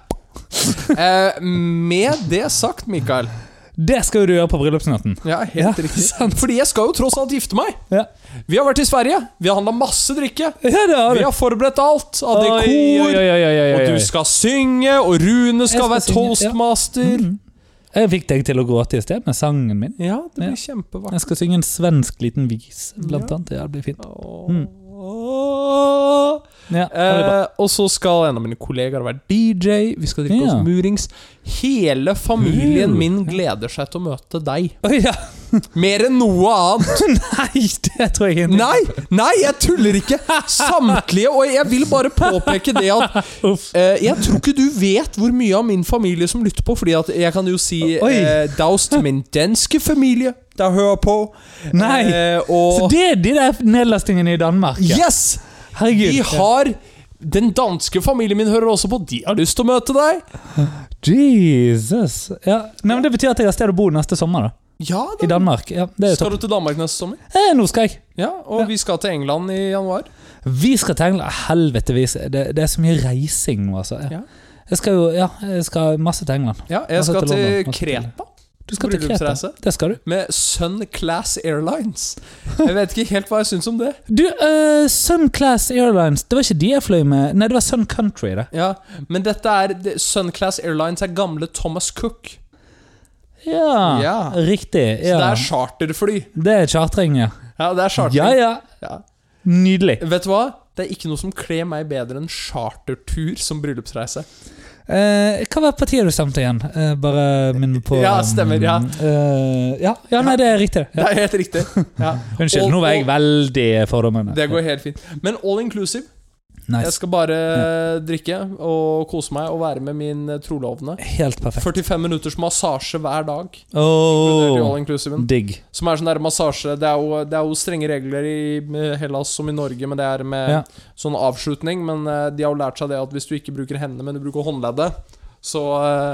Speaker 1: Eh, med det sagt, Mikael
Speaker 2: Det skal jo du gjøre på bryllupsnatten.
Speaker 1: Ja, helt
Speaker 2: Ja,
Speaker 1: riktig.
Speaker 2: sant.
Speaker 1: Fordi jeg skal jo tross alt gifte meg.
Speaker 2: Ja.
Speaker 1: Vi har vært i Sverige. Vi har handla masse drikke.
Speaker 2: Ja, det har
Speaker 1: Vi
Speaker 2: du.
Speaker 1: har forberedt alt av dekor. Og du skal synge, og Rune skal,
Speaker 2: skal
Speaker 1: være
Speaker 2: synge, ja.
Speaker 1: toastmaster.
Speaker 2: Mm. Jeg fikk deg til å gråte i sted med sangen min.
Speaker 1: Ja, det blir
Speaker 2: Ja.
Speaker 1: kjempevakkert.
Speaker 2: Jeg skal synge en svensk liten vise, blant
Speaker 1: Ja.
Speaker 2: annet. Ja, det blir fint.
Speaker 1: Åh.
Speaker 2: Ja, det blir bra.
Speaker 1: Eh, og så skal en av mine kollegaer være DJ. Vi skal
Speaker 2: Ja.
Speaker 1: drikke oss murings. Hele familien
Speaker 2: Mm.
Speaker 1: min gleder seg til å møte deg.
Speaker 2: Oi, ja. (laughs)
Speaker 1: Mer enn noe annet.
Speaker 2: Nei, det tror jeg ikke.
Speaker 1: Nei, nei, jeg tuller ikke! Samtlige. Og jeg vil bare påpeke det at
Speaker 2: Uff.
Speaker 1: eh, jeg tror ikke du vet hvor mye av min familie som lytter på, fordi at jeg kan jo si
Speaker 2: Oi.
Speaker 1: eh, Daust, min danske familie, der hører på.
Speaker 2: Nei.
Speaker 1: Eh,
Speaker 2: Så
Speaker 1: og
Speaker 2: det er de der nedlastingene i Danmark? ja.
Speaker 1: Yes!
Speaker 2: Herregud.
Speaker 1: Vi har Den danske familien min hører også på. De har lyst til å møte deg.
Speaker 2: Jesus. Ja. Nei, men det betyr at jeg har sted å bo neste sommer, da.
Speaker 1: Ja,
Speaker 2: I
Speaker 1: da.
Speaker 2: Danmark. Ja, det er jo
Speaker 1: Skal
Speaker 2: topp.
Speaker 1: du til Danmark neste sommer?
Speaker 2: Eh, nå skal jeg.
Speaker 1: Ja, Og vi skal til England i januar.
Speaker 2: Vi skal til England. Helvete, vi skal- det, det er så mye reising nå, altså.
Speaker 1: Ja.
Speaker 2: Ja. Jeg skal jo ja, jeg skal masse til England.
Speaker 1: Ja,
Speaker 2: skal
Speaker 1: Jeg skal
Speaker 2: til London.
Speaker 1: til
Speaker 2: Jeg skal til-
Speaker 1: Kreta
Speaker 2: Du skal til Kreta.
Speaker 1: Bryllupsreise.
Speaker 2: Det skal du.
Speaker 1: med Sun Class Airlines. Jeg vet ikke helt hva jeg syns om
Speaker 2: (laughs)
Speaker 1: det.
Speaker 2: Du, eh, Sun Class Airlines, det var ikke de jeg fløy med. Nei, det var Sun Country, det.
Speaker 1: Ja, Men dette er det- Sun Class Airlines er gamle Thomas Cook.
Speaker 2: Ja,
Speaker 1: Ja.
Speaker 2: riktig.
Speaker 1: Så det
Speaker 2: Ja.
Speaker 1: er charterfly.
Speaker 2: Det er chartering, ja.
Speaker 1: Ja, det er charter.
Speaker 2: Ja, ja.
Speaker 1: Ja.
Speaker 2: Nydelig.
Speaker 1: Vet du hva? Det er ikke noe som kler meg bedre enn chartertur som bryllupsreise.
Speaker 2: Eh, hva var partiet du stemte igjen? Eh, bare minn meg på
Speaker 1: Ja, stemmer, ja.
Speaker 2: eh, ja. Ja, nei, det er riktig.
Speaker 1: Det
Speaker 2: Ja.
Speaker 1: er
Speaker 2: (laughs)
Speaker 1: helt riktig. Ja.
Speaker 2: Unnskyld,
Speaker 1: Og-
Speaker 2: nå var jeg veldig fordommende.
Speaker 1: Det går helt fint. Men all inclusive. Jeg
Speaker 2: nice.
Speaker 1: skal bare drikke og kose meg og være med min eh, trolovende.
Speaker 2: Helt perfekt.
Speaker 1: 45 minutters massasje hver dag. inkludert i
Speaker 2: Åh,
Speaker 1: All inclusiven,
Speaker 2: digg.
Speaker 1: som er sånn der massasje Det er jo, det er jo strenge regler i eh, Hellas som i Norge, men det er med
Speaker 2: Ja.
Speaker 1: sånn avslutning. Men eh, de har jo lært seg det at hvis du ikke bruker hendene, men du bruker håndleddet, så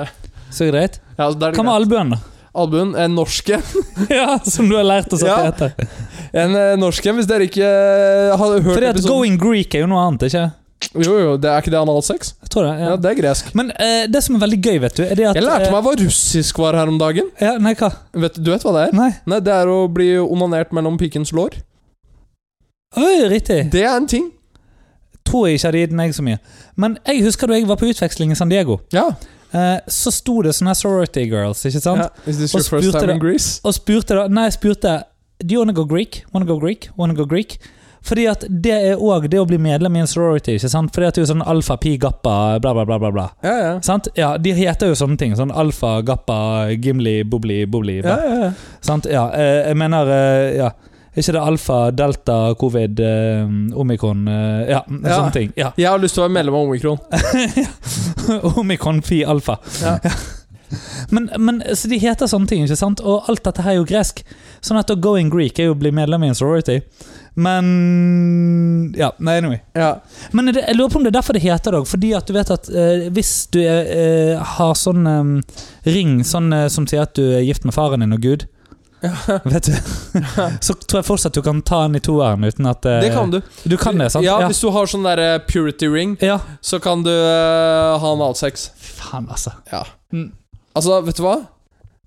Speaker 1: eh,
Speaker 2: Så greit.
Speaker 1: Ja, så da er det
Speaker 2: Hva med
Speaker 1: greit.
Speaker 2: albuen, da? (laughs)
Speaker 1: Albuen. En norsk en.
Speaker 2: ja, som du har lært oss at
Speaker 1: Ja.
Speaker 2: det heter.
Speaker 1: (laughs) En eh, norsk en, hvis dere ikke eh, har hørt
Speaker 2: Fordi at
Speaker 1: episoden.
Speaker 2: going Greek er jo noe annet, ikke?
Speaker 1: Jo, jo, det er ikke det analsex?
Speaker 2: Jeg tror det.
Speaker 1: Ja,
Speaker 2: Ja.
Speaker 1: det er gresk.
Speaker 2: Men eh, det som er veldig gøy, vet du, er det at
Speaker 1: Jeg lærte
Speaker 2: eh,
Speaker 1: meg hva russisk var her om dagen.
Speaker 2: ja, Nei, hva?
Speaker 1: Vet, du vet hva det er?
Speaker 2: Nei.
Speaker 1: Nei, det er å bli onanert mellom pikkens lår.
Speaker 2: Oi, riktig.
Speaker 1: Det er en ting.
Speaker 2: Tror jeg ikke hadde gitt meg så mye. Men jeg husker da jeg var på utveksling i San Diego.
Speaker 1: Ja.
Speaker 2: Eh, så sto det sånne sorority girls, ikke sant?
Speaker 1: Is this
Speaker 2: Og
Speaker 1: your first
Speaker 2: spurte
Speaker 1: time
Speaker 2: det-
Speaker 1: in Greece?
Speaker 2: Og spurte da Nei, jeg spurte Do you wanna go Greek? Wanna go Greek? Wanna go Greek? Fordi at det er òg det å bli medlem i en sorority. ikke sant? Fordi at det er jo sånn alfa, pi, gappa, bla, bla, bla. bla, bla.
Speaker 1: Ja, ja.
Speaker 2: Sant? Ja, De heter jo sånne ting. Sånn alfa, gappa, gimli, bobli, bobli.
Speaker 1: Ja,
Speaker 2: bla.
Speaker 1: ja, ja.
Speaker 2: Sant? Ja, eh, jeg mener eh, ja. Er ikke det alfa, delta, covid, eh, omikron eh, Ja,
Speaker 1: Ja.
Speaker 2: sånne ting. Ja.
Speaker 1: Jeg har lyst til å være medlem av omikron.
Speaker 2: (laughs) Omikron phi alfa.
Speaker 1: Ja.
Speaker 2: (laughs) men, men, så de heter sånne ting, ikke sant? Og alt dette her er jo gresk. Sånn at å go in Greek er jo å bli medlem i en sorority. Men Ja, nei, anyway.
Speaker 1: Ja.
Speaker 2: Men er det, jeg lurer på om det er derfor det heter det òg. Fordi at du vet at eh, hvis du er, eh, har sånn eh, ring sånn, eh, som sier at du er gift med faren din og Gud
Speaker 1: Eh,
Speaker 2: Vet du (laughs) Så tror jeg fortsatt du kan ta den i toeren uten at eh,
Speaker 1: Det kan du.
Speaker 2: Du kan det, sant?
Speaker 1: Ja,
Speaker 2: ja.
Speaker 1: Hvis du har sånn der eh, purity ring,
Speaker 2: ja.
Speaker 1: så kan du eh, ha analsex.
Speaker 2: Faen, altså.
Speaker 1: Ja.
Speaker 2: Mm.
Speaker 1: Altså, vet du hva?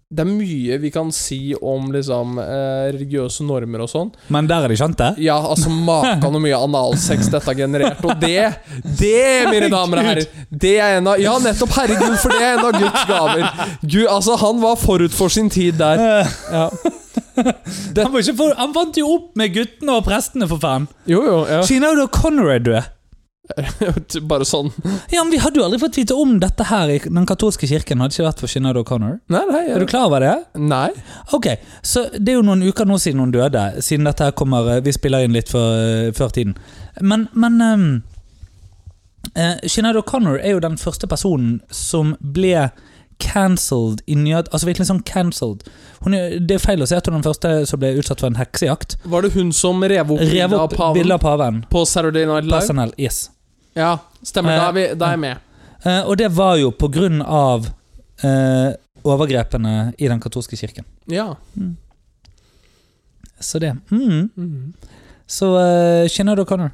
Speaker 1: Det er mye vi kan si om liksom, eh, religiøse normer og sånn.
Speaker 2: Men der er de skjønt det?
Speaker 1: Ja, altså makan og mye analsex dette har generert. Og det, det, mine damer og herrer, det er en av Ja, nettopp! Herregud, for det er en av Guds gaver. Gud, altså, han var forut for sin tid der. Ja.
Speaker 2: (laughs) Han, var ikke for, han vant jo opp med guttene og prestene, for faen!
Speaker 1: Jo, jo. Ja. (laughs)
Speaker 2: Kina og Conrad, du er.
Speaker 1: Bare sånn.
Speaker 2: Ja, men Vi hadde jo aldri fått vite om dette her i den katolske kirken. hadde ikke vært for Sinead O'Connor.
Speaker 1: Nei, nei.
Speaker 2: Er du
Speaker 1: Jeg,
Speaker 2: klar over det?
Speaker 1: nei.
Speaker 2: Ok, så Det er jo noen uker nå siden hun døde, siden dette her kommer eh, Vi spiller inn litt før, eh, før tiden. Men, men ehm, eh, eh, Sinead O'Connor er jo den første personen som ble cancelled i nyhet. Altså virkelig sånn cancelled. Hun er, det er feil å si at hun er den første som ble utsatt for en heksejakt.
Speaker 1: Var det hun som rev opp
Speaker 2: Rev
Speaker 1: bildet av
Speaker 2: opp
Speaker 1: paven
Speaker 2: bildet av paven.
Speaker 1: på Saturday Night Live?
Speaker 2: Personell, yes.
Speaker 1: Ja, stemmer. Da er, vi, da er jeg med.
Speaker 2: Eh, og det var jo på grunn av eh, overgrepene i den katolske kirken.
Speaker 1: Ja.
Speaker 2: Så det. Mm.
Speaker 1: Mhm.
Speaker 2: Så uh, Shinad O'Connor.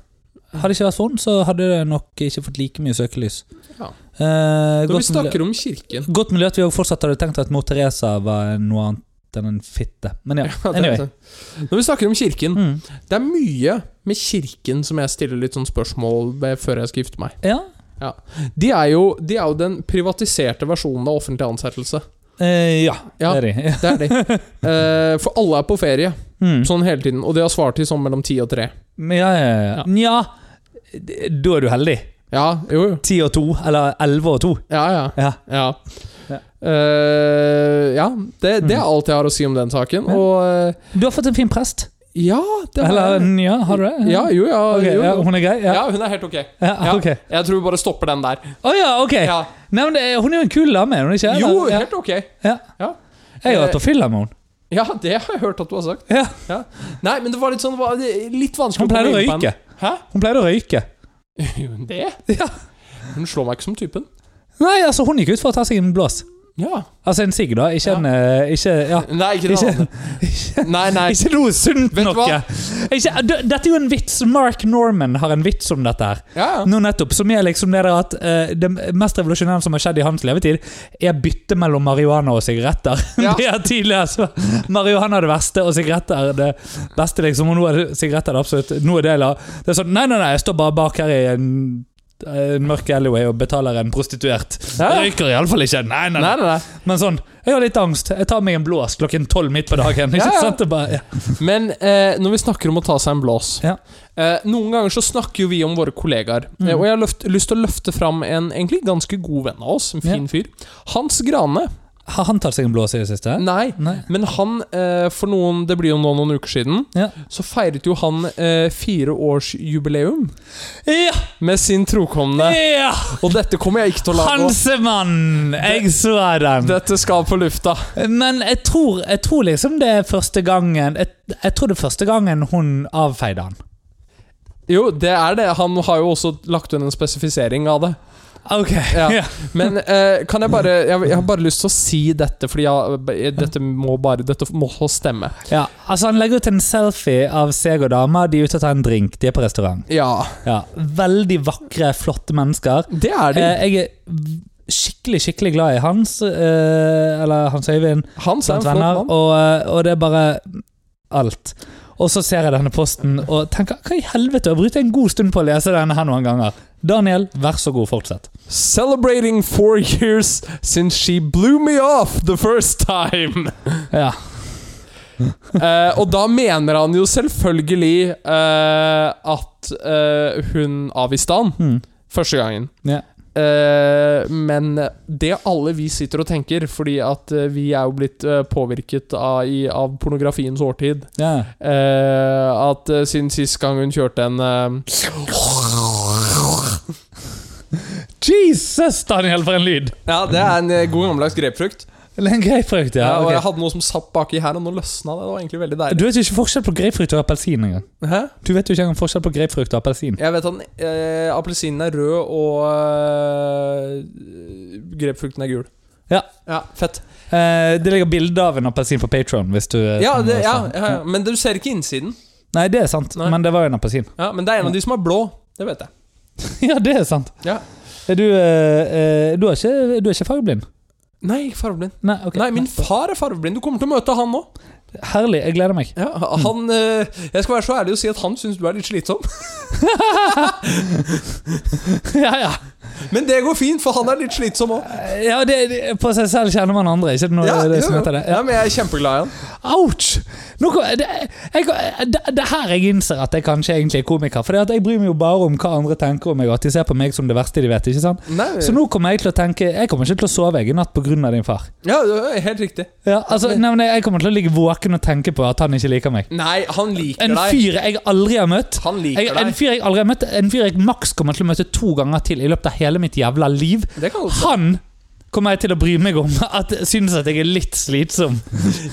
Speaker 2: Hadde det ikke vært for henne, så hadde det nok ikke fått like mye søkelys.
Speaker 1: Ja.
Speaker 2: Eh,
Speaker 1: Når vi
Speaker 2: godt, miljø,
Speaker 1: snakker om kirken
Speaker 2: godt miljø at vi også fortsatt hadde tenkt at mor Teresa var noe annet enn en fitte. Men ja,
Speaker 1: Ja, det er
Speaker 2: (laughs) anyway.
Speaker 1: det. (laughs) Når vi snakker om kirken
Speaker 2: Mm.
Speaker 1: Det er mye med kirken som jeg stiller litt sånn spørsmål ved før jeg skal gifte meg.
Speaker 2: Ja,
Speaker 1: De er jo, de er jo den privatiserte versjonen av offentlig ansettelse.
Speaker 2: Eh, ja,
Speaker 1: Ja.
Speaker 2: det er de.
Speaker 1: Det er de.
Speaker 2: (laughs)
Speaker 1: Eh, for alle er på ferie
Speaker 2: Mm.
Speaker 1: sånn hele tiden, og de har svartid sånn mellom ti og tre.
Speaker 2: Men ja, ja, ja.
Speaker 1: Ja.
Speaker 2: Nja, d- da er du heldig.
Speaker 1: Ja, jo, jo.
Speaker 2: Ti og to, eller elleve og to.
Speaker 1: Ja, ja.
Speaker 2: Ja.
Speaker 1: Ja,
Speaker 2: Ja. Mm.
Speaker 1: Eh, ja det, det er alt jeg har å si om den saken.
Speaker 2: Ja.
Speaker 1: Og eh,
Speaker 2: Du har fått en fin prest.
Speaker 1: ja, det
Speaker 2: Eller nja, har du det?
Speaker 1: Ja, jo, ja.
Speaker 2: Ok,
Speaker 1: jo,
Speaker 2: ja,
Speaker 1: jo.
Speaker 2: hun er grei? Ja.
Speaker 1: Ja, hun er helt ok.
Speaker 2: Ja,
Speaker 1: Ja.
Speaker 2: ok.
Speaker 1: Jeg tror vi bare stopper den der.
Speaker 2: Å ja, ok.
Speaker 1: Ja.
Speaker 2: Nei, men det, er- hun er jo en kul dame, er hun ikke?
Speaker 1: Jo,
Speaker 2: Eller- ja.
Speaker 1: helt ok.
Speaker 2: Ja.
Speaker 1: Ja.
Speaker 2: Jeg har vært og fylla med henne.
Speaker 1: Ja, det har jeg hørt at du har sagt.
Speaker 2: Ja.
Speaker 1: Nei, men det var litt sånn var det litt vanskelig
Speaker 2: Hun pleide å
Speaker 1: komme inn på
Speaker 2: røyke.
Speaker 1: henne. Hæ?
Speaker 2: Hun pleide å røyke.
Speaker 1: (laughs) Gjør hun det?
Speaker 2: Ja.
Speaker 1: Hun slår meg ikke som typen.
Speaker 2: Nei, altså, hun gikk ut for å ta seg en blås.
Speaker 1: Ja.
Speaker 2: Altså en sigg, da. Ikke
Speaker 1: Ja.
Speaker 2: en eh, Ikke Ja.
Speaker 1: Nei, ikke det
Speaker 2: Ikke,
Speaker 1: andre. Nei,
Speaker 2: (laughs)
Speaker 1: nei.
Speaker 2: ikke noe sunt
Speaker 1: Vet du
Speaker 2: noe. Ikke, d- dette er jo en vits. Mark Norman har en vits om dette her.
Speaker 1: Ja, ja.
Speaker 2: Nå nettopp, som er liksom det der at eh, Det mest revolusjonære som har skjedd i hans levetid, er bytte mellom marihuana og sigaretter. (laughs)
Speaker 1: Ja.
Speaker 2: Det er tidligere så Marihuana er det verste, og sigaretter er det beste. liksom Og nå er det, sigaretter er det absolutt noe del av Det er sånn Nei, nei, nei, jeg står bare bak her i en, en mørk alleyway og betaler en prostituert.
Speaker 1: Ja.
Speaker 2: Jeg røyker iallfall ikke. Nei, nei,
Speaker 1: Nei,
Speaker 2: nei.
Speaker 1: nei, nei.
Speaker 2: Men sånn Jeg har litt angst. Jeg tar meg en blås klokken tolv midt på dagen. Ikke
Speaker 1: Ja, ja.
Speaker 2: sant? Det er bare, ja.
Speaker 1: Men eh, når vi snakker om å ta seg en blås
Speaker 2: Ja.
Speaker 1: eh, Noen ganger så snakker jo vi om våre kollegaer.
Speaker 2: Mm.
Speaker 1: Eh, og jeg har løft, lyst til å løfte fram en egentlig ganske god venn av oss. En fin fyr. Hans Grane.
Speaker 2: Har han tatt seg en blås i det siste?
Speaker 1: Nei.
Speaker 2: Nei.
Speaker 1: Men han, eh, for noen, det blir jo nå noen uker siden,
Speaker 2: Ja.
Speaker 1: så feiret jo han eh, fireårsjubileum
Speaker 2: Ja!
Speaker 1: med sin trokomne.
Speaker 2: ja.
Speaker 1: Og dette kommer jeg ikke til å la gå.
Speaker 2: Hansemann! Jeg så den.
Speaker 1: Dette skal på lufta.
Speaker 2: Men jeg tror, jeg tror liksom det er første gangen jeg, jeg tror det er første gangen hun avfeide han.
Speaker 1: Jo, det er det. Han har jo også lagt inn en spesifisering av det.
Speaker 2: Ok.
Speaker 1: Ja.
Speaker 2: Ja.
Speaker 1: Men eh, kan jeg bare jeg, jeg har bare lyst til å si dette, fordi jeg, eh, dette må bare Dette må stemme.
Speaker 2: Ja. Altså, han legger ut en selfie av seg og dama. De er ute og tar en drink. De er på restaurant.
Speaker 1: Ja,
Speaker 2: Ja. Veldig vakre, flotte mennesker.
Speaker 1: det er det.
Speaker 2: Eh, jeg er v- skikkelig, skikkelig glad i Hans, eh, eller Hans Øyvind,
Speaker 1: Hans er en
Speaker 2: blant
Speaker 1: flott
Speaker 2: venner.
Speaker 1: mann.
Speaker 2: Og, eh, og det er bare alt. Og så ser jeg denne posten og tenker hva i helvete, jeg brukte en god stund på å lese denne her noen ganger. Daniel, vær så god, fortsett.
Speaker 1: Celebrating four years since she blew me off the first time. (laughs)
Speaker 2: Ja.
Speaker 1: Eh, og da mener han jo selvfølgelig eh, at eh, hun avviste han
Speaker 2: Mm.
Speaker 1: første gangen.
Speaker 2: Ja.
Speaker 1: Eh, men det alle vi sitter og tenker, fordi at eh, vi er jo blitt eh, påvirket av, i, av pornografiens årtid
Speaker 2: Ja.
Speaker 1: Eh, at eh, siden sist gang hun kjørte en eh,
Speaker 2: Jesus, Daniel, for en lyd!
Speaker 1: Ja, det er en eh, god gammeldags grepfrukt.
Speaker 2: Eller en grapefrukt, ja.
Speaker 1: Ja, og
Speaker 2: ok.
Speaker 1: jeg hadde noe som satt baki her, og nå løsna det. Det var egentlig veldig
Speaker 2: Du
Speaker 1: deilig.
Speaker 2: vet jo ikke forskjell på grapefrukt og appelsin engang.
Speaker 1: Hæ?
Speaker 2: Du vet jo ikke engang forskjell på grapefrukt og appelsin.
Speaker 1: Jeg vet at eh, appelsinen er rød, og eh, grepfrukten er gul.
Speaker 2: Ja.
Speaker 1: ja fett.
Speaker 2: Eh, det ligger bilde av en appelsin på Patron. Hvis du eh,
Speaker 1: Ja,
Speaker 2: sånn,
Speaker 1: det,
Speaker 2: eh,
Speaker 1: ja,
Speaker 2: sånn.
Speaker 1: ja, ja, men du ser ikke innsiden.
Speaker 2: Nei, det er sant,
Speaker 1: Nei.
Speaker 2: men det var jo en appelsin. (laughs)
Speaker 1: Ja, Men det er en av de som er blå. Det vet jeg.
Speaker 2: ja, det er sant.
Speaker 1: Ja.
Speaker 2: Er du, eh, eh, du, er ikke, du er ikke fargeblind?
Speaker 1: Nei, fargeblind.
Speaker 2: Nei, ok.
Speaker 1: Nei, min far er fargeblind. Du kommer til å møte han nå.
Speaker 2: Herlig, jeg gleder
Speaker 1: (laughs)
Speaker 2: meg.
Speaker 1: Ja, han, eh, jeg skal være så ærlig og si at han syns du er litt (laughs) slitsom.
Speaker 2: ja, ja.
Speaker 1: Men det går fint, for han er litt slitsom òg.
Speaker 2: ja det, det, på seg selv kjenner man andre, ikke noe, det som
Speaker 1: jo, jo.
Speaker 2: heter det?
Speaker 1: Ja, men jeg er kjempeglad i han.
Speaker 2: Ouch! Nå, kom- det, jeg, det, det her jeg innser at jeg kanskje egentlig er komiker. For jeg bryr meg jo bare om hva andre tenker om meg, og at de ser på meg som det verste de vet. ikke sant?
Speaker 1: Nei,
Speaker 2: Så nå kommer jeg til å tenke Jeg kommer ikke til å sove jeg i natt pga. din far.
Speaker 1: ja, det er helt riktig.
Speaker 2: Ja, altså, nei, men Jeg kommer til å ligge våken og tenke på at han ikke liker meg.
Speaker 1: Nei, han liker
Speaker 2: En
Speaker 1: deg.
Speaker 2: fyr jeg aldri har møtt.
Speaker 1: Han liker
Speaker 2: Jeg, en
Speaker 1: deg.
Speaker 2: fyr jeg aldri har møtt En fyr jeg maks kommer til å møte to ganger til i løpet av hele mitt jævla liv.
Speaker 1: Det kan godt
Speaker 2: Han kommer jeg til å bry meg om at synes at jeg er litt slitsom.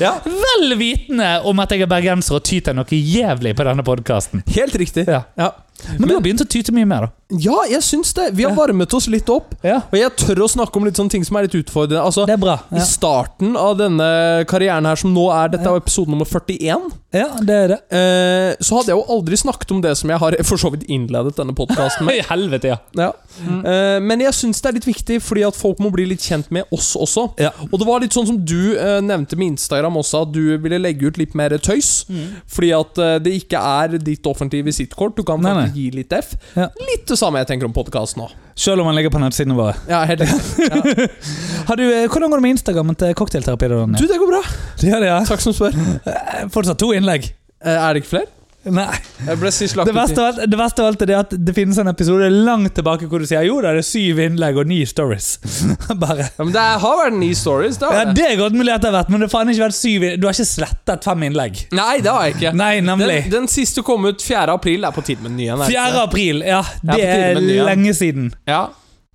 Speaker 1: Ja,
Speaker 2: Vel vitende om at jeg er bergenser og tyter noe jævlig på denne podkasten.
Speaker 1: helt riktig.
Speaker 2: Ja.
Speaker 1: Ja.
Speaker 2: Men du har begynt å tyte mye mer, da.
Speaker 1: ja, jeg syns det. Vi har
Speaker 2: Ja.
Speaker 1: varmet oss litt opp.
Speaker 2: Ja,
Speaker 1: Og jeg tør å snakke om litt sånne ting som er litt utfordrende. Altså,
Speaker 2: Det er bra.
Speaker 1: I
Speaker 2: Ja,
Speaker 1: starten av denne karrieren her, som nå er Dette er jo episode nummer 41.
Speaker 2: ja det er det.
Speaker 1: Eh, så hadde jeg jo aldri snakket om det som jeg har for så vidt innledet denne podkasten med.
Speaker 2: I helvete, (laughs) ja.
Speaker 1: Ja. Eh, men jeg syns det er litt viktig, fordi at folk må bli litt kjent med oss også.
Speaker 2: Ja.
Speaker 1: Og det var litt sånn som du eh, nevnte med Instagram også, at du ville legge ut litt mer tøys.
Speaker 2: Mm.
Speaker 1: Fordi at eh, det ikke er ditt offentlige visittkort. Du kan
Speaker 2: Nei,
Speaker 1: faktisk gi litt F.
Speaker 2: Ja.
Speaker 1: Litt det samme jeg tenker om podkasten nå.
Speaker 2: Selv om han ligger på nettsidene våre.
Speaker 1: Ja, helt riktig.
Speaker 2: Har du, eh, hvordan går det med Instagram til cocktailterapi? da, Ronny?
Speaker 1: Du, det går bra.
Speaker 2: Ja, det er.
Speaker 1: Takk som spør.
Speaker 2: Eh, Fortsatt to innlegg.
Speaker 1: Eh, er det ikke flere?
Speaker 2: Nei.
Speaker 1: Jeg ble sist lagt
Speaker 2: Det verste,
Speaker 1: ut i
Speaker 2: av alt, det verste av alt er det at det finnes en episode langt tilbake hvor du sier jo da det er syv innlegg og ni stories. (laughs) Bare
Speaker 1: ja, men Det har vært ni stories. Det har
Speaker 2: ja,
Speaker 1: jeg.
Speaker 2: Det er godt mulig at det har vært, men det har faen ikke vært syv inn- Du har ikke slettet fem innlegg.
Speaker 1: Nei, det har jeg ikke.
Speaker 2: Nei, nemlig.
Speaker 1: Den, den siste kom ut 4. april. Det er på tide med en ny en. er det
Speaker 2: 4.
Speaker 1: ikke det?
Speaker 2: april. Ja,
Speaker 1: Ja, på
Speaker 2: det
Speaker 1: tide
Speaker 2: er
Speaker 1: med en ny, ja.
Speaker 2: lenge siden.
Speaker 1: Ja.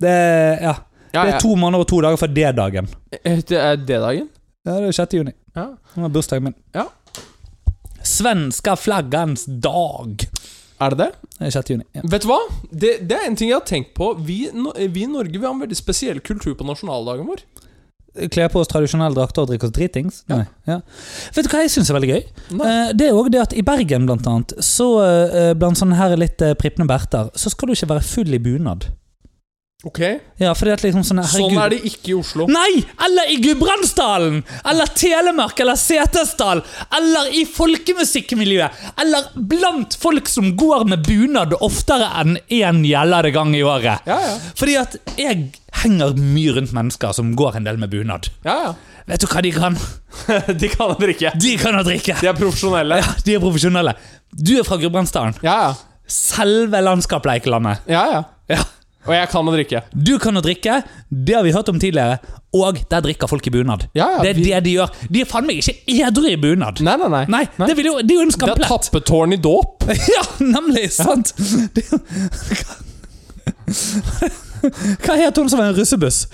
Speaker 2: Det er, ja.
Speaker 1: Ja,
Speaker 2: det
Speaker 1: ja.
Speaker 2: er to måneder og to dager fra D-dagen.
Speaker 1: Eh, Det er D-dagen?
Speaker 2: Ja, det er 6. juni.
Speaker 1: Ja.
Speaker 2: Det var bursdagen min.
Speaker 1: Ja.
Speaker 2: Svenska flaggans dag.
Speaker 1: Er det det?
Speaker 2: Det er 6. juni. Ja.
Speaker 1: Vet du hva? Det, det er en ting jeg har tenkt på. Vi, no- vi i Norge vi har en veldig spesiell kultur på nasjonaldagen vår.
Speaker 2: Eh, Kle på oss tradisjonelle drakter og drikke oss dritings. Nei.
Speaker 1: Ja.
Speaker 2: Ja. Vet du hva jeg syns er veldig gøy?
Speaker 1: Nei.
Speaker 2: Eh, Det er også det at I Bergen, blant annet, så eh, blant sånne her litt eh, prippende berter, så skal du ikke være full i bunad.
Speaker 1: Ok,
Speaker 2: Ja, fordi at liksom sånn
Speaker 1: Sånn er det ikke i Oslo.
Speaker 2: Nei! Eller i Gudbrandsdalen! Eller Telemark eller Setesdal! Eller i folkemusikkmiljøet! Eller blant folk som går med bunad oftere enn én gjellede gang i året.
Speaker 1: Ja, ja.
Speaker 2: Fordi at jeg henger mye rundt mennesker som går en del med bunad.
Speaker 1: ja, ja.
Speaker 2: Vet du hva de kan?
Speaker 1: De kan det ikke.
Speaker 2: (laughs) De kan å drikke!
Speaker 1: De er profesjonelle.
Speaker 2: Ja, de er profesjonelle. Du er fra Gudbrandsdalen.
Speaker 1: Ja, ja.
Speaker 2: Selve landskapleiklandet.
Speaker 1: ja, ja.
Speaker 2: Ja.
Speaker 1: Og jeg kan å drikke.
Speaker 2: Du kan å drikke, det har vi hørt om tidligere, og der drikker folk i bunad.
Speaker 1: Ja, ja,
Speaker 2: det er
Speaker 1: vi-
Speaker 2: det de gjør. De er faen meg ikke edru i bunad.
Speaker 1: Nei, nei, nei.
Speaker 2: Nei,
Speaker 1: Nei.
Speaker 2: Det, vil jo, det er jo en
Speaker 1: Det er
Speaker 2: skamplett.
Speaker 1: tappetårn i dåp.
Speaker 2: (laughs) Ja, nemlig! Sant? Det er jo- Hva het hun som var en russebuss?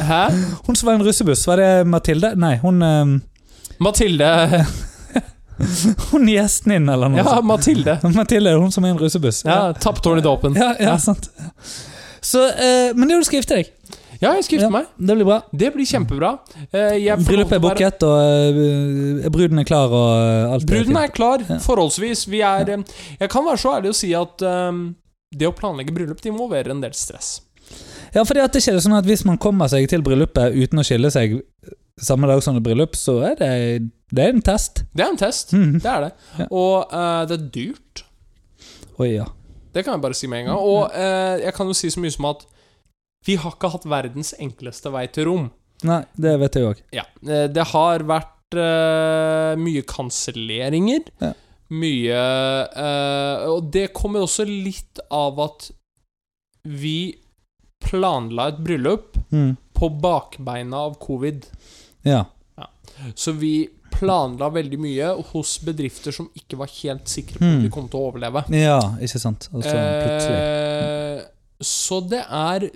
Speaker 1: Hæ?
Speaker 2: Hun som var en russebuss, var det Mathilde? Nei, hun, ehm,
Speaker 1: Mathilde
Speaker 2: hun gjesten inn, eller noe
Speaker 1: Ja,
Speaker 2: sånt.
Speaker 1: Mathilde.
Speaker 2: Mathilde, hun som er en russebuss.
Speaker 1: Ja, Tappetårn i dåpen.
Speaker 2: Ja, ja, sant. Så, eh, men det er jo du skal gifte deg.
Speaker 1: Ja, jeg skal gifte
Speaker 2: Ja,
Speaker 1: meg.
Speaker 2: Det blir bra.
Speaker 1: Det blir kjempebra. Eh, jeg får
Speaker 2: Bryllupet er
Speaker 1: lov til å være-
Speaker 2: booket, og eh, bruden er klar, og eh, alt
Speaker 1: Bruden er klar,
Speaker 2: Ja.
Speaker 1: forholdsvis. Vi er eh, Jeg kan være så ærlig å si at eh, det å planlegge bryllup det involverer en del stress.
Speaker 2: Ja, fordi at det ikke er sånn at hvis man kommer seg til bryllupet uten å skille seg samme dag som det er bryllup, så er det, det er en test.
Speaker 1: Det er en test.
Speaker 2: Mhm.
Speaker 1: Det er det.
Speaker 2: Ja.
Speaker 1: Og eh, det er dyrt.
Speaker 2: Oi, ja.
Speaker 1: Det kan jeg bare si med en gang.
Speaker 2: Mm.
Speaker 1: Og eh, jeg kan jo si så mye som at vi har ikke hatt verdens enkleste vei til rom.
Speaker 2: Nei, det vet jeg òg.
Speaker 1: Ja. eh, Det har vært eh, mye kanselleringer.
Speaker 2: Ja.
Speaker 1: Mye eh, Og det kommer også litt av at vi planla et bryllup
Speaker 2: Mm.
Speaker 1: på bakbeina av covid.
Speaker 2: Ja.
Speaker 1: Så vi planla veldig mye hos bedrifter som ikke var helt sikre på om
Speaker 2: Mm.
Speaker 1: de kom til å overleve.
Speaker 2: ja, ikke sant. Og så plutselig
Speaker 1: Eh, så det er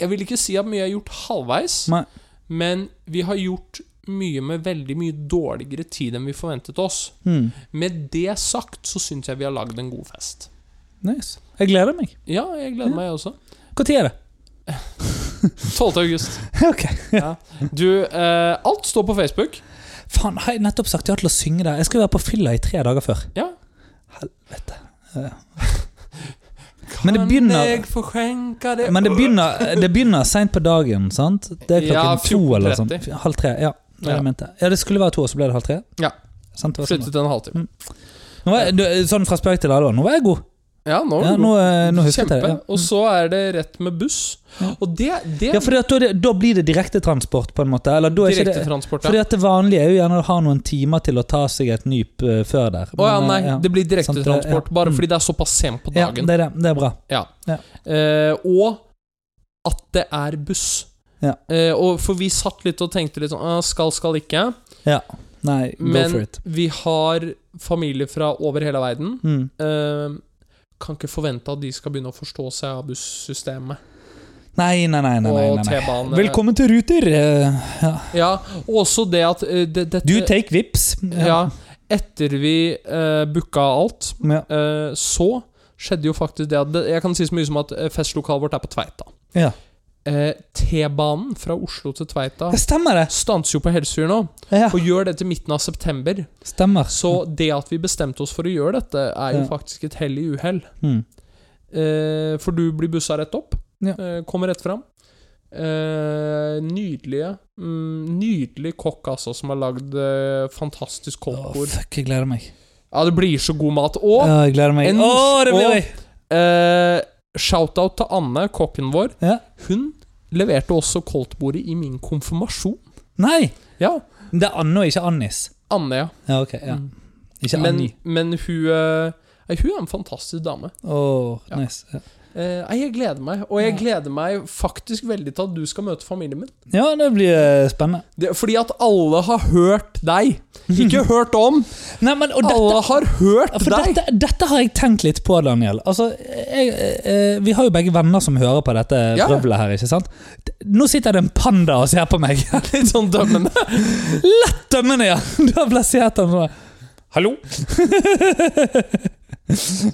Speaker 1: Jeg vil ikke si at mye er gjort halvveis,
Speaker 2: Nei.
Speaker 1: men vi har gjort mye med veldig mye dårligere tid enn vi forventet oss.
Speaker 2: mm.
Speaker 1: Med det sagt så syns jeg vi har lagd en god fest.
Speaker 2: Nice. Jeg gleder meg.
Speaker 1: Ja, jeg gleder meg, jeg også.
Speaker 2: Når er det?
Speaker 1: 12. august.
Speaker 2: (laughs) ok.
Speaker 1: Du, eh, alt står på Facebook.
Speaker 2: Faen, har jeg nettopp sagt ja til å synge der? Jeg skal jo være på fylla i tre dager før.
Speaker 1: Ja.
Speaker 2: Helvete. Men det begynner-
Speaker 1: Kan jeg få skjenke det
Speaker 2: Men det begynner, det begynner seint på dagen, sant? Det er klokken
Speaker 1: Ja,
Speaker 2: to eller sånn.
Speaker 1: 14.30.
Speaker 2: Halv tre. Ja, det var det
Speaker 1: Ja.
Speaker 2: jeg mente. ja, det skulle være to, og så ble det halv tre?
Speaker 1: Ja.
Speaker 2: Sant, det var sånn.
Speaker 1: Sluttet en halvtime.
Speaker 2: Nå var jeg, du, sånn fra spøk til alvor, nå var jeg god.
Speaker 1: Ja, nå
Speaker 2: Ja,
Speaker 1: er
Speaker 2: nå,
Speaker 1: det god.
Speaker 2: eh, nå husket jeg
Speaker 1: Kjempe.
Speaker 2: det. Ja.
Speaker 1: Og så er det rett med buss.
Speaker 2: Ja.
Speaker 1: Og det, det
Speaker 2: Ja, fordi at da, er det- da blir det direktetransport, på en måte. Eller da er ikke det,
Speaker 1: Direktetransport,
Speaker 2: fordi
Speaker 1: ja.
Speaker 2: at det vanlige er jo gjerne å ha noen timer til å ta seg et nyp eh, før der.
Speaker 1: Å ja,
Speaker 2: Men,
Speaker 1: nei,
Speaker 2: eh, ja.
Speaker 1: det blir
Speaker 2: Sant, det- ja.
Speaker 1: direktetransport. Bare
Speaker 2: Mm.
Speaker 1: fordi det er såpass sent på
Speaker 2: ja,
Speaker 1: dagen.
Speaker 2: det er det. Det er bra.
Speaker 1: Eh, og at det er buss.
Speaker 2: Ja.
Speaker 1: Eh, og for vi satt litt og tenkte litt sånn «Ah, Skal, skal ikke.
Speaker 2: Nei, go for
Speaker 1: Men
Speaker 2: it.
Speaker 1: vi har familie fra over hele verden.
Speaker 2: Mm.
Speaker 1: Eh, kan ikke forvente at de skal begynne å forstå seg av bussystemet.
Speaker 2: Nei, nei, nei. nei, nei,
Speaker 1: Og
Speaker 2: nei, nei.
Speaker 1: T-bane.
Speaker 2: Velkommen til Ruter. eh, ja.
Speaker 1: Ja, og også det at eh, det, dette,
Speaker 2: Do you take vips?
Speaker 1: Ja, etter vi eh, booka alt,
Speaker 2: Ja.
Speaker 1: eh, så skjedde jo faktisk det at det, Jeg kan si så mye som at eh, festlokalet vårt er på Tveita.
Speaker 2: Ja.
Speaker 1: Eh, T-banen fra Oslo til Tveita
Speaker 2: Det stemmer, det.
Speaker 1: stanser jo på Helsfyr nå,
Speaker 2: Ja,
Speaker 1: og gjør det til midten av september.
Speaker 2: stemmer.
Speaker 1: Så det at vi bestemte oss for å gjøre dette, er jo
Speaker 2: Ja.
Speaker 1: faktisk et hell i uhell.
Speaker 2: Mm.
Speaker 1: Eh, for du blir bussa rett opp.
Speaker 2: Ja.
Speaker 1: Eh, kommer rett fram. Eh, nydelige mm, Nydelig kokk, altså, som har lagd eh,
Speaker 2: Åh,
Speaker 1: fantastisk koldtbord.
Speaker 2: fuck, jeg gleder meg.
Speaker 1: ja, det blir så god mat. Og
Speaker 2: Ja, jeg gleder meg.
Speaker 1: en-
Speaker 2: Åh, det blir
Speaker 1: og-
Speaker 2: gøy!
Speaker 1: eh, shout-out til Anne, kokken vår.
Speaker 2: Ja.
Speaker 1: Hun leverte også koldtbordet i min konfirmasjon.
Speaker 2: Nei!
Speaker 1: Ja,
Speaker 2: Det er Anne og ikke Annis.
Speaker 1: Anne, ja.
Speaker 2: Ja, ok. Ja.
Speaker 1: Mm.
Speaker 2: Ikke
Speaker 1: Men,
Speaker 2: Anni.
Speaker 1: men hun eh, nei, Hun er en fantastisk dame.
Speaker 2: Åh,
Speaker 1: Ja.
Speaker 2: nice. Ja.
Speaker 1: Eh, nei, jeg gleder meg, og jeg gleder meg faktisk veldig til at du skal møte familien min.
Speaker 2: ja, det blir eh, spennende.
Speaker 1: Det, fordi at alle har hørt deg.
Speaker 2: (laughs)
Speaker 1: Ikke hørt om,
Speaker 2: Nei, men, og dette
Speaker 1: alle har hørt
Speaker 2: Ja, For
Speaker 1: deg!
Speaker 2: dette, dette har jeg tenkt litt på, Daniel. Altså, jeg, eh, vi har jo begge venner som hører på dette
Speaker 1: Ja.
Speaker 2: vrøvlet her. ikke sant? D- Nå sitter det en panda og ser på meg.
Speaker 1: (laughs) Litt sånn (laughs) dømmende.
Speaker 2: Dømmende, ja! (laughs) Du har plassert den sånn. Hallo?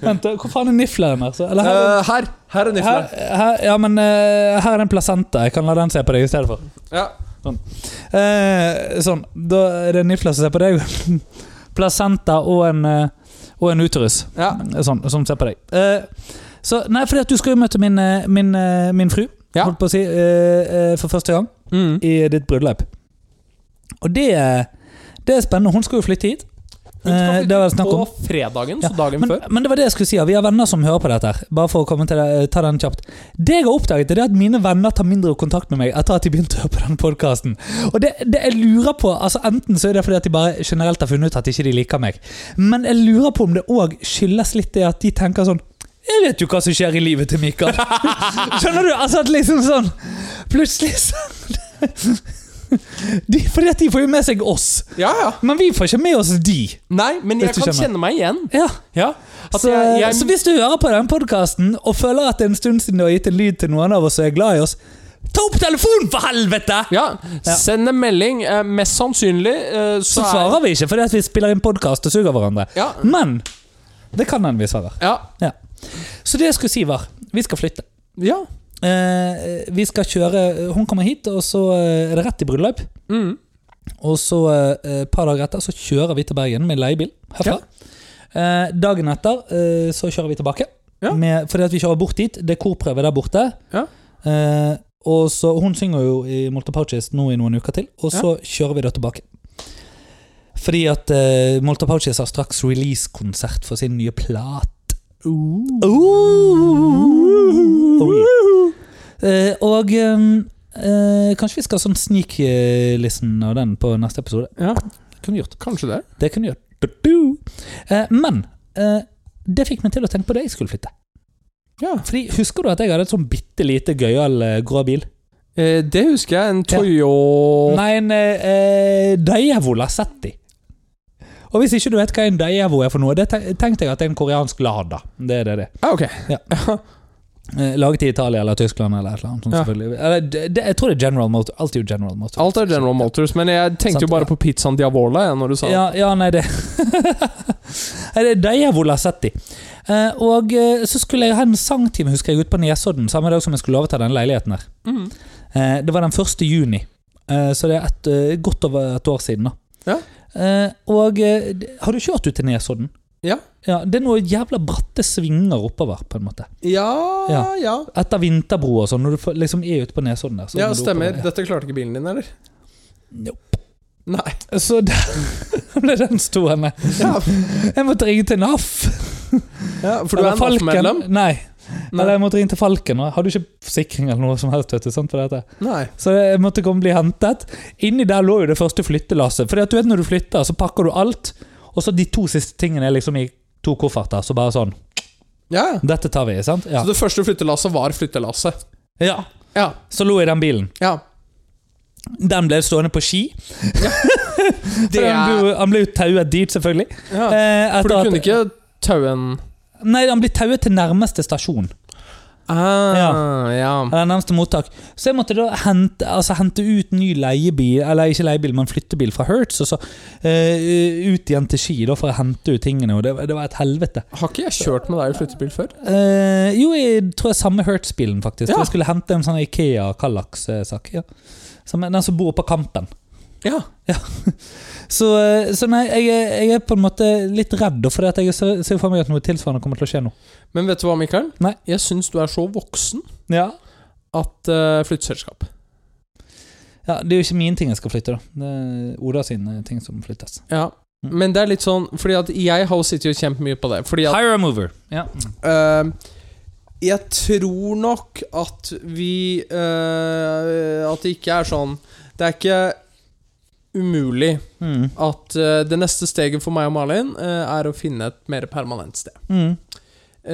Speaker 2: Vent, da, hvor faen er nifleren her? Så- Eller her,
Speaker 1: Eh, her. Her er
Speaker 2: her,
Speaker 1: nifla.
Speaker 2: her, ja, men, eh, her er det en placenta. Jeg kan la den se på deg i stedet for.
Speaker 1: Ja.
Speaker 2: Eh, sånn, da er det en nifle som ser på deg. (laughs) placenta og en, eh, og en uterus.
Speaker 1: ja.
Speaker 2: sånn, som ser på deg. Eh, så, nei, fordi at du skal jo møte min, eh, min, eh, min fru,
Speaker 1: Ja.
Speaker 2: holdt på å si, eh, eh, for første gang
Speaker 1: Mm.
Speaker 2: i ditt bryllup. Og det, er- det er spennende. Hun skal jo flytte hit.
Speaker 1: Hun skal
Speaker 2: Eh, det var det
Speaker 1: flytte
Speaker 2: snakk om.
Speaker 1: på fredagen, så
Speaker 2: Ja,
Speaker 1: dagen
Speaker 2: Men,
Speaker 1: før.
Speaker 2: men det var det jeg skulle si. ja. Vi har venner som hører på dette. her Bare for å komme til det, eh, ta den kjapt Det jeg har oppdaget, er det at mine venner tar mindre kontakt med meg etter at de begynte å høre på den podkasten. Det, det jeg lurer på altså Enten så er det fordi at de bare generelt har funnet ut at ikke de liker meg, men jeg lurer på om det òg skyldes litt det at de tenker sånn jeg vet jo hva som skjer i livet til Mikael. Skjønner du? Altså at liksom sånn Plutselig sånn (laughs) de, Fordi at de får jo med seg oss,
Speaker 1: Ja, ja.
Speaker 2: men vi får ikke med oss de.
Speaker 1: Nei, men
Speaker 2: Hvis
Speaker 1: jeg
Speaker 2: du
Speaker 1: kan
Speaker 2: skjønner.
Speaker 1: kjenne meg igjen.
Speaker 2: Ja
Speaker 1: Ja. At
Speaker 2: så,
Speaker 1: jeg, jeg,
Speaker 2: så hvis du hører på den podkasten og føler at det er en stund siden du har gitt en lyd til noen av oss som er glad i oss, ta opp telefonen, for helvete!
Speaker 1: ja,
Speaker 2: Ja.
Speaker 1: send en melding. Eh, mest sannsynlig eh,
Speaker 2: Så
Speaker 1: så, er
Speaker 2: svarer vi ikke fordi at vi spiller inn podkast og suger hverandre.
Speaker 1: Ja.
Speaker 2: Men det kan hende vi svarer.
Speaker 1: Ja.
Speaker 2: Ja. Så det jeg skulle si, var vi skal flytte.
Speaker 1: ja.
Speaker 2: Eh, vi skal kjøre Hun kommer hit, og så eh, er det rett i bryllup.
Speaker 1: Mm.
Speaker 2: Og så eh, et par dager etter så kjører vi til Bergen med leiebil herfra. Eh, dagen etter eh, så kjører vi tilbake.
Speaker 1: Ja.
Speaker 2: Med, fordi at vi kjører bort dit. Det er korprøve der borte.
Speaker 1: Ja.
Speaker 2: Eh, og så, Hun synger jo i Molte Pouches nå i noen uker til, og så kjører vi da tilbake. Fordi at eh, Molte Pouches har straks release-konsert for sin nye plat.
Speaker 1: Uh.
Speaker 2: Oh, yeah. Eh, og ehm, eh, kanskje vi skal ha sånn sneak-listen av den på neste episode.
Speaker 1: Ja.
Speaker 2: Det kunne vi gjort.
Speaker 1: Kanskje det.
Speaker 2: Det kunne vi gjort. Du-du. Eh, men eh, det fikk meg til å tenke på det jeg skulle flytte.
Speaker 1: Ja.
Speaker 2: Fordi Husker du at jeg hadde et sånn bitte lite gøyal eh, grå bil?
Speaker 1: Eh, det husker jeg. En Toyota
Speaker 2: Nei, en eh, eh, Daewoo Lasetti. Og hvis ikke du vet hva en Daewoo er for noe, det te- tenkte jeg at det er en koreansk Lada. Det er det det er.
Speaker 1: ah, Ok.
Speaker 2: Eh, Laget i Italia eller Tyskland eller et eller annet. Sånn,
Speaker 1: Ja.
Speaker 2: selvfølgelig. eller, det, det, jeg tror det er General Motor. Alt er jo General Motor.
Speaker 1: Alt er General Motors, men jeg tenkte
Speaker 2: Sant,
Speaker 1: jo bare
Speaker 2: ja.
Speaker 1: på pizzaen Diavola jeg, når du sa det.
Speaker 2: Ja, ja nei, det (laughs) Nei, det er Daewoo Lasetti. Eh, og eh, så skulle jeg ha en sangtime, husker jeg, ute på Nesodden samme dag som jeg skulle overta den leiligheten her.
Speaker 1: Mm.
Speaker 2: Eh, det var den 1. juni, eh, så det er et, eh, godt over et år siden, da.
Speaker 1: Ja.
Speaker 2: Eh, og eh, d- har du kjørt ut til Nesodden?
Speaker 1: Ja.
Speaker 2: ja. Det er noen jævla bratte svinger oppover, på en måte.
Speaker 1: Ja, ja.
Speaker 2: Ja.
Speaker 1: ja.
Speaker 2: Etter vinterbro og sånn, når du får- liksom er ute på Nesodden der. så må du oppover,
Speaker 1: stemmer.
Speaker 2: ja.
Speaker 1: Dette klarte ikke bilen din, eller?
Speaker 2: Nope. (laughs)
Speaker 1: Nei.
Speaker 2: Så der ble den stående.
Speaker 1: Ja,
Speaker 2: Jeg måtte ringe til NAF.
Speaker 1: ja, for du
Speaker 2: Eller
Speaker 1: er NAF-medlem?
Speaker 2: Falken. Nei. Eller jeg måtte ringe til Falken. og Har du ikke forsikring eller noe som helst? Vet du, sant, for dette?
Speaker 1: Nei.
Speaker 2: Så jeg måtte komme og bli hentet. Inni der lå jo det første flyttelasset. For du vet når du flytter, så pakker du alt, og så de to siste tingene er liksom i to kofferter. Så bare sånn
Speaker 1: Ja. ja.
Speaker 2: Dette tar vi, sant? Ja.
Speaker 1: Så det første flyttelasset var flyttelasset?
Speaker 2: ja.
Speaker 1: Ja.
Speaker 2: Så lå jeg i den bilen.
Speaker 1: ja.
Speaker 2: Den ble stående på ski.
Speaker 1: Det
Speaker 2: (laughs) For han
Speaker 1: er
Speaker 2: ble jo- Han ble jo tauet dit, selvfølgelig.
Speaker 1: ja.
Speaker 2: Eh,
Speaker 1: For
Speaker 2: etter
Speaker 1: du
Speaker 2: at-
Speaker 1: kunne ikke taue en
Speaker 2: Nei, han blir tauet til nærmeste stasjon.
Speaker 1: Ah, ja.
Speaker 2: Eller Eh, nærmeste mottak. Så jeg måtte da hente, altså hente ut ny leiebil, eller ikke leiebil, men flyttebil fra Hertz, og så eh, ut igjen til Ski da, for å hente ut tingene, og det, var- det var et helvete.
Speaker 1: Har ikke jeg kjørt med deg i flyttebil før?
Speaker 2: Eh, jo, jeg tror jeg samme Hertz-bilen, faktisk.
Speaker 1: Ja.
Speaker 2: For Jeg skulle hente en sånn Ikea Kallax-sak. Ja. Som- Den som bor på Kampen.
Speaker 1: Ja.
Speaker 2: (laughs) Så, eh, så nei, jeg, er- jeg er på en måte litt redd, da, fordi at jeg ser ser for meg at noe tilsvarende kommer til å skje nå.
Speaker 1: Men vet du hva, Mikael?
Speaker 2: Nei.
Speaker 1: Jeg syns du er så voksen
Speaker 2: Ja.
Speaker 1: at uh, flytteselskap
Speaker 2: ja Det er jo ikke min ting jeg skal flytte, da. Det er Oda sine ting som flyttes.
Speaker 1: Ja.
Speaker 2: Mm.
Speaker 1: Men det er litt sånn Fordi at jeg har jo sittet og kjempet mye på det. Fordi at
Speaker 2: Hire a mover. Ja.
Speaker 1: Eh, jeg tror nok at vi eh, At det ikke er sånn Det er ikke umulig
Speaker 2: Mm.
Speaker 1: at eh, det neste steget for meg og Malin eh, er å finne et mer permanent sted.
Speaker 2: Mm.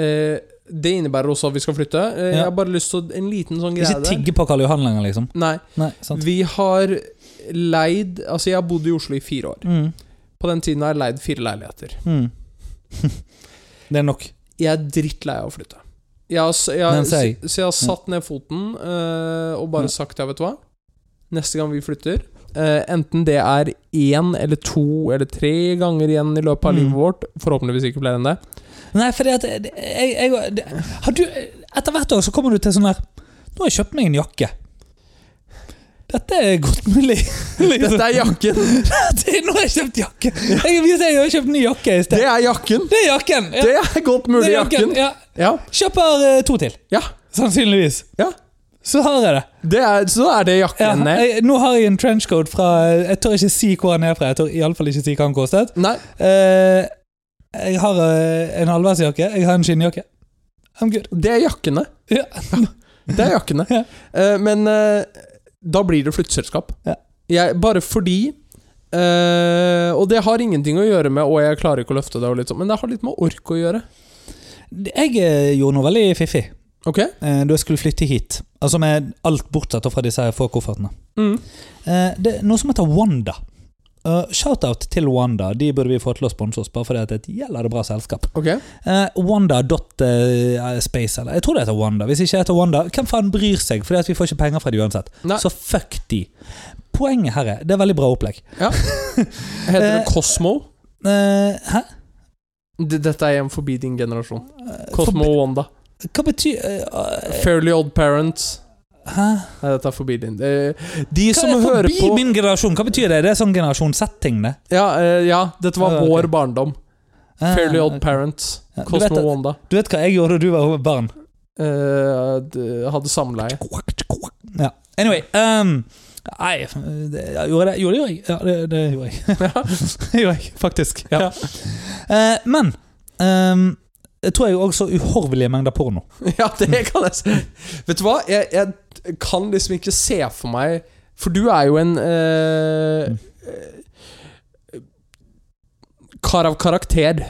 Speaker 1: Eh, det innebærer også at vi skal flytte. Eh, Jeg
Speaker 2: Ja.
Speaker 1: har bare lyst til å En liten sånn greie
Speaker 2: Ikke tigge på Karl Johan lenger, liksom.
Speaker 1: Nei.
Speaker 2: Nei, sant.
Speaker 1: Vi har leid Altså, jeg har bodd i Oslo i fire år.
Speaker 2: Mm.
Speaker 1: På den tiden har jeg leid fire leiligheter. (laughs)
Speaker 2: Mm. det er nok.
Speaker 1: Jeg er drittlei av å flytte. Jeg har, s- jeg, har-
Speaker 2: Den ser jeg. Mm.
Speaker 1: Så jeg har satt ned foten eh, og bare
Speaker 2: Ja.
Speaker 1: sagt ja, vet du hva. Neste gang vi flytter, eh, enten det er én eller to eller tre ganger igjen i løpet av
Speaker 2: Mm.
Speaker 1: livet vårt, forhåpentligvis ikke flere enn det
Speaker 2: (laughs) Nei, fordi at jeg, jeg, det- har du, Etter hvert år så kommer du til sånn her Nå har jeg kjøpt meg en jakke. Dette er godt mulig.
Speaker 1: (laughs)
Speaker 2: Liksom.
Speaker 1: Dette er jakken!
Speaker 2: Dette- Nå har jeg kjøpt jakke! Jeg, hvis jeg har kjøpt ny jakke i
Speaker 1: Det
Speaker 2: sted.
Speaker 1: er jakken!
Speaker 2: Det er jakken! Ja,
Speaker 1: Det er godt
Speaker 2: det
Speaker 1: mulig
Speaker 2: er
Speaker 1: jakken!
Speaker 2: Ja.
Speaker 1: Ja.
Speaker 2: Kjøper eh, to til,
Speaker 1: ja.
Speaker 2: sannsynligvis.
Speaker 1: Ja.
Speaker 2: Så har jeg det.
Speaker 1: Det er, så er det
Speaker 2: Ja,
Speaker 1: jakken eh? ned.
Speaker 2: jeg, nå har jeg en trenchcoat fra Jeg tør ikke si hvor han er fra. Jeg tør iallfall ikke si hva han kostet.
Speaker 1: Nei,
Speaker 2: Eh, jeg har eh, en halvveisjakke. Jeg har en skinnjakke. I'm good.
Speaker 1: det er jakkene.
Speaker 2: Ja.
Speaker 1: Det er jakkene.
Speaker 2: (laughs) Ja.
Speaker 1: Eh, men eh, da blir det flytteselskap.
Speaker 2: Ja.
Speaker 1: Jeg, bare fordi eh, Og det har ingenting å gjøre med Og jeg klarer ikke å løfte det, og litt sånn, men det har litt med ork å gjøre.
Speaker 2: Jeg eh, gjorde noe veldig fiffig
Speaker 1: Ok?
Speaker 2: eh, da jeg skulle flytte hit. Altså med alt bortsett fra disse her få koffertene.
Speaker 1: Mm.
Speaker 2: Eh, det er noe som heter Wanda. Eh, Shoutout til Wanda. De burde vi få til å sponse oss, bare fordi at det er et gjelder det bra selskap.
Speaker 1: Ok?
Speaker 2: Eh, Wanda.space, eller jeg tror det heter Wanda. Hvis ikke det heter Wanda, hvem faen bryr seg? Fordi at vi får ikke penger fra de uansett.
Speaker 1: Nei.
Speaker 2: Så fuck de. Poenget her er Det er veldig bra opplegg.
Speaker 1: Heter det
Speaker 2: Eh,
Speaker 1: Cosmo?
Speaker 2: Eh, hæ?
Speaker 1: D- Dette er igjen forbi din generasjon.
Speaker 2: Eh,
Speaker 1: Cosmo og Wanda.
Speaker 2: Hva betyr eh,
Speaker 1: Fairly Odd Parents.
Speaker 2: Hæ?
Speaker 1: Nei, dette er forbi din. Eh, de
Speaker 2: Hva
Speaker 1: som
Speaker 2: er
Speaker 1: hører
Speaker 2: forbi
Speaker 1: på
Speaker 2: min generasjon? Hva betyr det? Det er sånn generasjonssetting, det.
Speaker 1: ja, eh, ja, dette var
Speaker 2: Ja, ok.
Speaker 1: vår barndom.
Speaker 2: Ah,
Speaker 1: Fairly Odd
Speaker 2: ok.
Speaker 1: Parents.
Speaker 2: Ja, du vet
Speaker 1: Cosmo
Speaker 2: at-
Speaker 1: og Wanda.
Speaker 2: Du vet hva jeg gjorde da du var barn?
Speaker 1: Eh, d-
Speaker 2: (laughs)
Speaker 1: hadde samleie.
Speaker 2: Ja. Anyway um, Nei, det, ja, gjorde jeg det? Jo, det gjorde jeg. Ja, det, det gjorde jeg. (laughs) det gjorde jeg, faktisk. Ja.
Speaker 1: Ja.
Speaker 2: Eh, men ehm, jeg tror jeg også uhorvelige mengder porno.
Speaker 1: Ja, det kan jeg se. Vet du hva? Jeg, jeg kan liksom ikke se for meg For du er jo en eh, eh, Kar av karakter.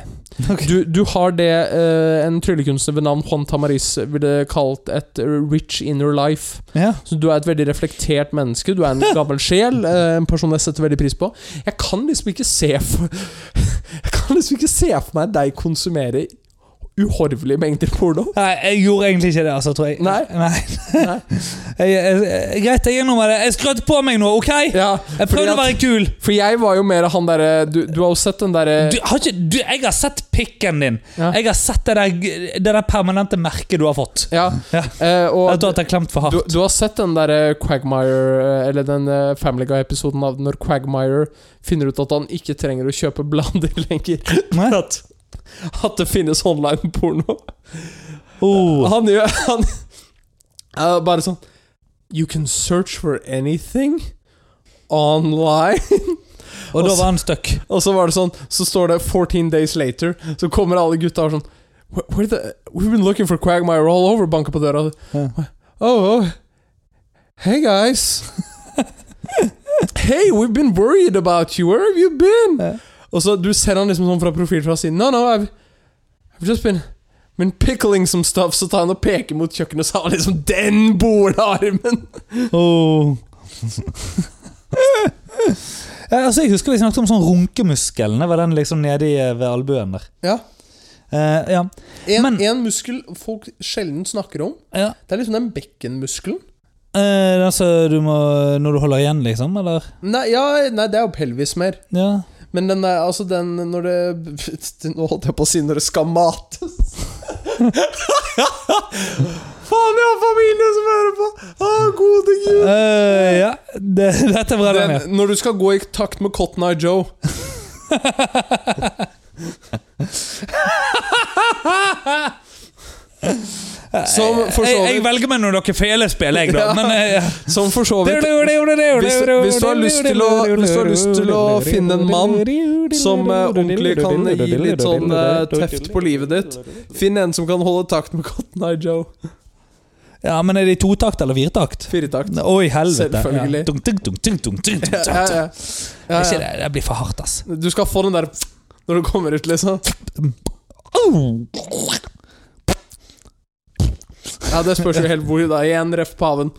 Speaker 1: Du, du har det eh, en tryllekunstner ved navn Juan Tamariz ville kalt et rich inner life.
Speaker 2: Ja.
Speaker 1: Så du er et veldig reflektert menneske. Du er en gammel sjel. (laughs) eh, en person jeg setter veldig pris på. Jeg kan liksom ikke se for (laughs) Jeg kan liksom ikke se for meg deg konsumere uhorvelige mengder porno.
Speaker 2: Nei, jeg gjorde egentlig ikke det, altså, tror jeg.
Speaker 1: Nei. Nei.
Speaker 2: Jeg, jeg, jeg, greit, jeg innrømmer det. Jeg skrøt på meg nå, OK?
Speaker 1: (laughs) Ja,
Speaker 2: Jeg prøvde å
Speaker 1: fordi at-
Speaker 2: være kul.
Speaker 1: For jeg var jo mer han derre du, du har jo sett den derre
Speaker 2: Du, har ikke, du, jeg har sett pikken din.
Speaker 1: Ja.
Speaker 2: Jeg har sett det der, det der permanente merket du har fått.
Speaker 1: Ja.
Speaker 2: Ja.
Speaker 1: eh,
Speaker 2: At du
Speaker 1: og
Speaker 2: har tatt klemt for hardt.
Speaker 1: du, du har sett den derre Quagmire eh, Eller den eh, Family Guy-episoden av når Quagmire finner ut at han ikke trenger å kjøpe blander (laughs) lenger.
Speaker 2: (laughs) Nei.
Speaker 1: For at, at det finnes online-porno.
Speaker 2: Oh.
Speaker 1: Han gjør han, eh, Bare sånn You can search for anything online. (laughs)
Speaker 2: Og da var han stuck.
Speaker 1: Og så var det sånn, så står det 14 days later, så kommer alle gutta og sånn "Where- Where the, We've been looking for Quagmire all over, banker på døra.
Speaker 2: Ja.
Speaker 1: Oh, oh, hey guys. hey, we've been worried about you. Where have you been?
Speaker 2: Ja.
Speaker 1: Og så du ser han liksom sånn fra profil fra siden. No, no, I've, I've just been been pickling some stuff, så tar han og peker mot kjøkkenet, så har han liksom den bordarmen.
Speaker 2: (laughs) Oh. Ja, altså, jeg husker vi snakket om sånn runkemuskelen. Det var den liksom nedi eh, ved albuen der.
Speaker 1: Ja.
Speaker 2: Eh, ja.
Speaker 1: En,
Speaker 2: Men-
Speaker 1: en muskel folk sjelden snakker om.
Speaker 2: ja.
Speaker 1: Det er liksom den bekkenmuskelen.
Speaker 2: Eh, altså, du må Når du holder igjen, liksom? Eller?
Speaker 1: Nei, ja, nei, det er jo pelvis mer.
Speaker 2: Ja.
Speaker 1: Men den er, altså den når det (laughs) Nå holdt jeg på å si når det skal mates. (laughs) Faen, jeg har familie som hører på! Ah, gode gud!
Speaker 2: Eh, ja. Det, (laughs) dette er bra, Daniel.
Speaker 1: Den, når du skal gå i takt med Cotton Eye
Speaker 2: (laughs)
Speaker 1: Joe. Som for
Speaker 2: jeg,
Speaker 1: så
Speaker 2: jeg
Speaker 1: vidt
Speaker 2: velger meg når dere felespill, jeg, da. Men, eh, ja.
Speaker 1: Som for så vidt (laughs) Hvis, hvis, du har lyst til å, hvis du har lyst til å finne en mann som eh, ordentlig kan gi litt sånn eh, tøft på livet ditt, finn en som kan holde takt med Cotton Eye Joe.
Speaker 2: Ja, men er det i totakt eller firetakt?
Speaker 1: Firetakt.
Speaker 2: Oi, helvete.
Speaker 1: Selvfølgelig.
Speaker 2: Ja. Dunk, dunk, dunk, dunk, dunk, dunk, dunk.
Speaker 1: Ja, ja. Ja,
Speaker 2: Ikke
Speaker 1: ja.
Speaker 2: det, det blir for hardt, ass.
Speaker 1: Du skal få den der når du kommer ut, liksom. Ja, Det spørs jo helt hvor. da Igjen ref paven.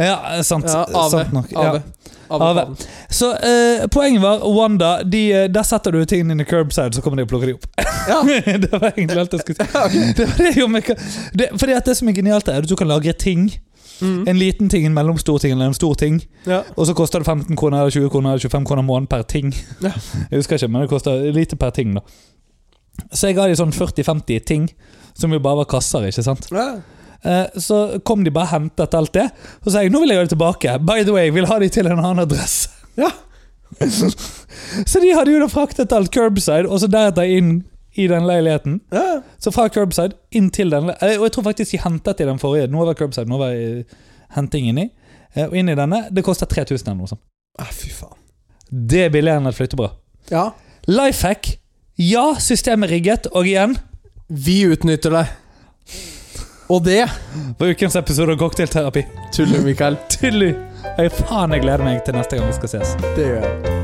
Speaker 2: Ja, sant.
Speaker 1: Ja, Ave.
Speaker 2: sant nok. Ja.
Speaker 1: Ave. Ave.
Speaker 2: Ave.
Speaker 1: paven.
Speaker 2: Så eh, poenget var, Wanda, de, eh, der setter du tingene inn i curbside, så kommer de og plukker de opp.
Speaker 1: Ja.
Speaker 2: (laughs)
Speaker 1: (laughs)
Speaker 2: det var egentlig alt jeg skulle si. Det var det jo med, det, fordi at det som er genialt, er at du kan lagre ting.
Speaker 1: Mhm.
Speaker 2: En liten ting, en mellomstor ting eller en stor ting.
Speaker 1: Ja.
Speaker 2: Og så koster det 15 kroner eller 20 kroner eller 25 kroner måneden per ting.
Speaker 1: Ja.
Speaker 2: Jeg husker ikke, men det koster lite per ting, da. Så jeg ga de sånn 40-50 ting, som jo bare var kasser, ikke sant.
Speaker 1: Ja.
Speaker 2: Eh, Så kom de bare og hentet alt det. Så sa jeg nå vil jeg ha det tilbake. By the way, jeg vil ha de til en annen adresse.
Speaker 1: Ja.
Speaker 2: (laughs) så de hadde jo da fraktet alt curbside, og så deretter inn i den leiligheten.
Speaker 1: Ja.
Speaker 2: Så fra curbside inn til den le- eh, Og jeg tror faktisk de hentet i den forrige. Nå var curbside, nå var eh, henting inni. Eh, Og inn i denne. Det koster 3000 eller noe sånt.
Speaker 1: Ah, fy faen.
Speaker 2: Det er billigere enn et flyttebrød.
Speaker 1: Ja.
Speaker 2: Life hack. Ja, systemet er rigget. Og igjen
Speaker 1: Vi utnytter deg. Og det
Speaker 2: var ukens episode av Cocktailterapi.
Speaker 1: tuller Mikael.
Speaker 2: Tydelig. Jeg, faen, jeg gleder meg til neste gang vi skal ses.
Speaker 1: Det gjør jeg.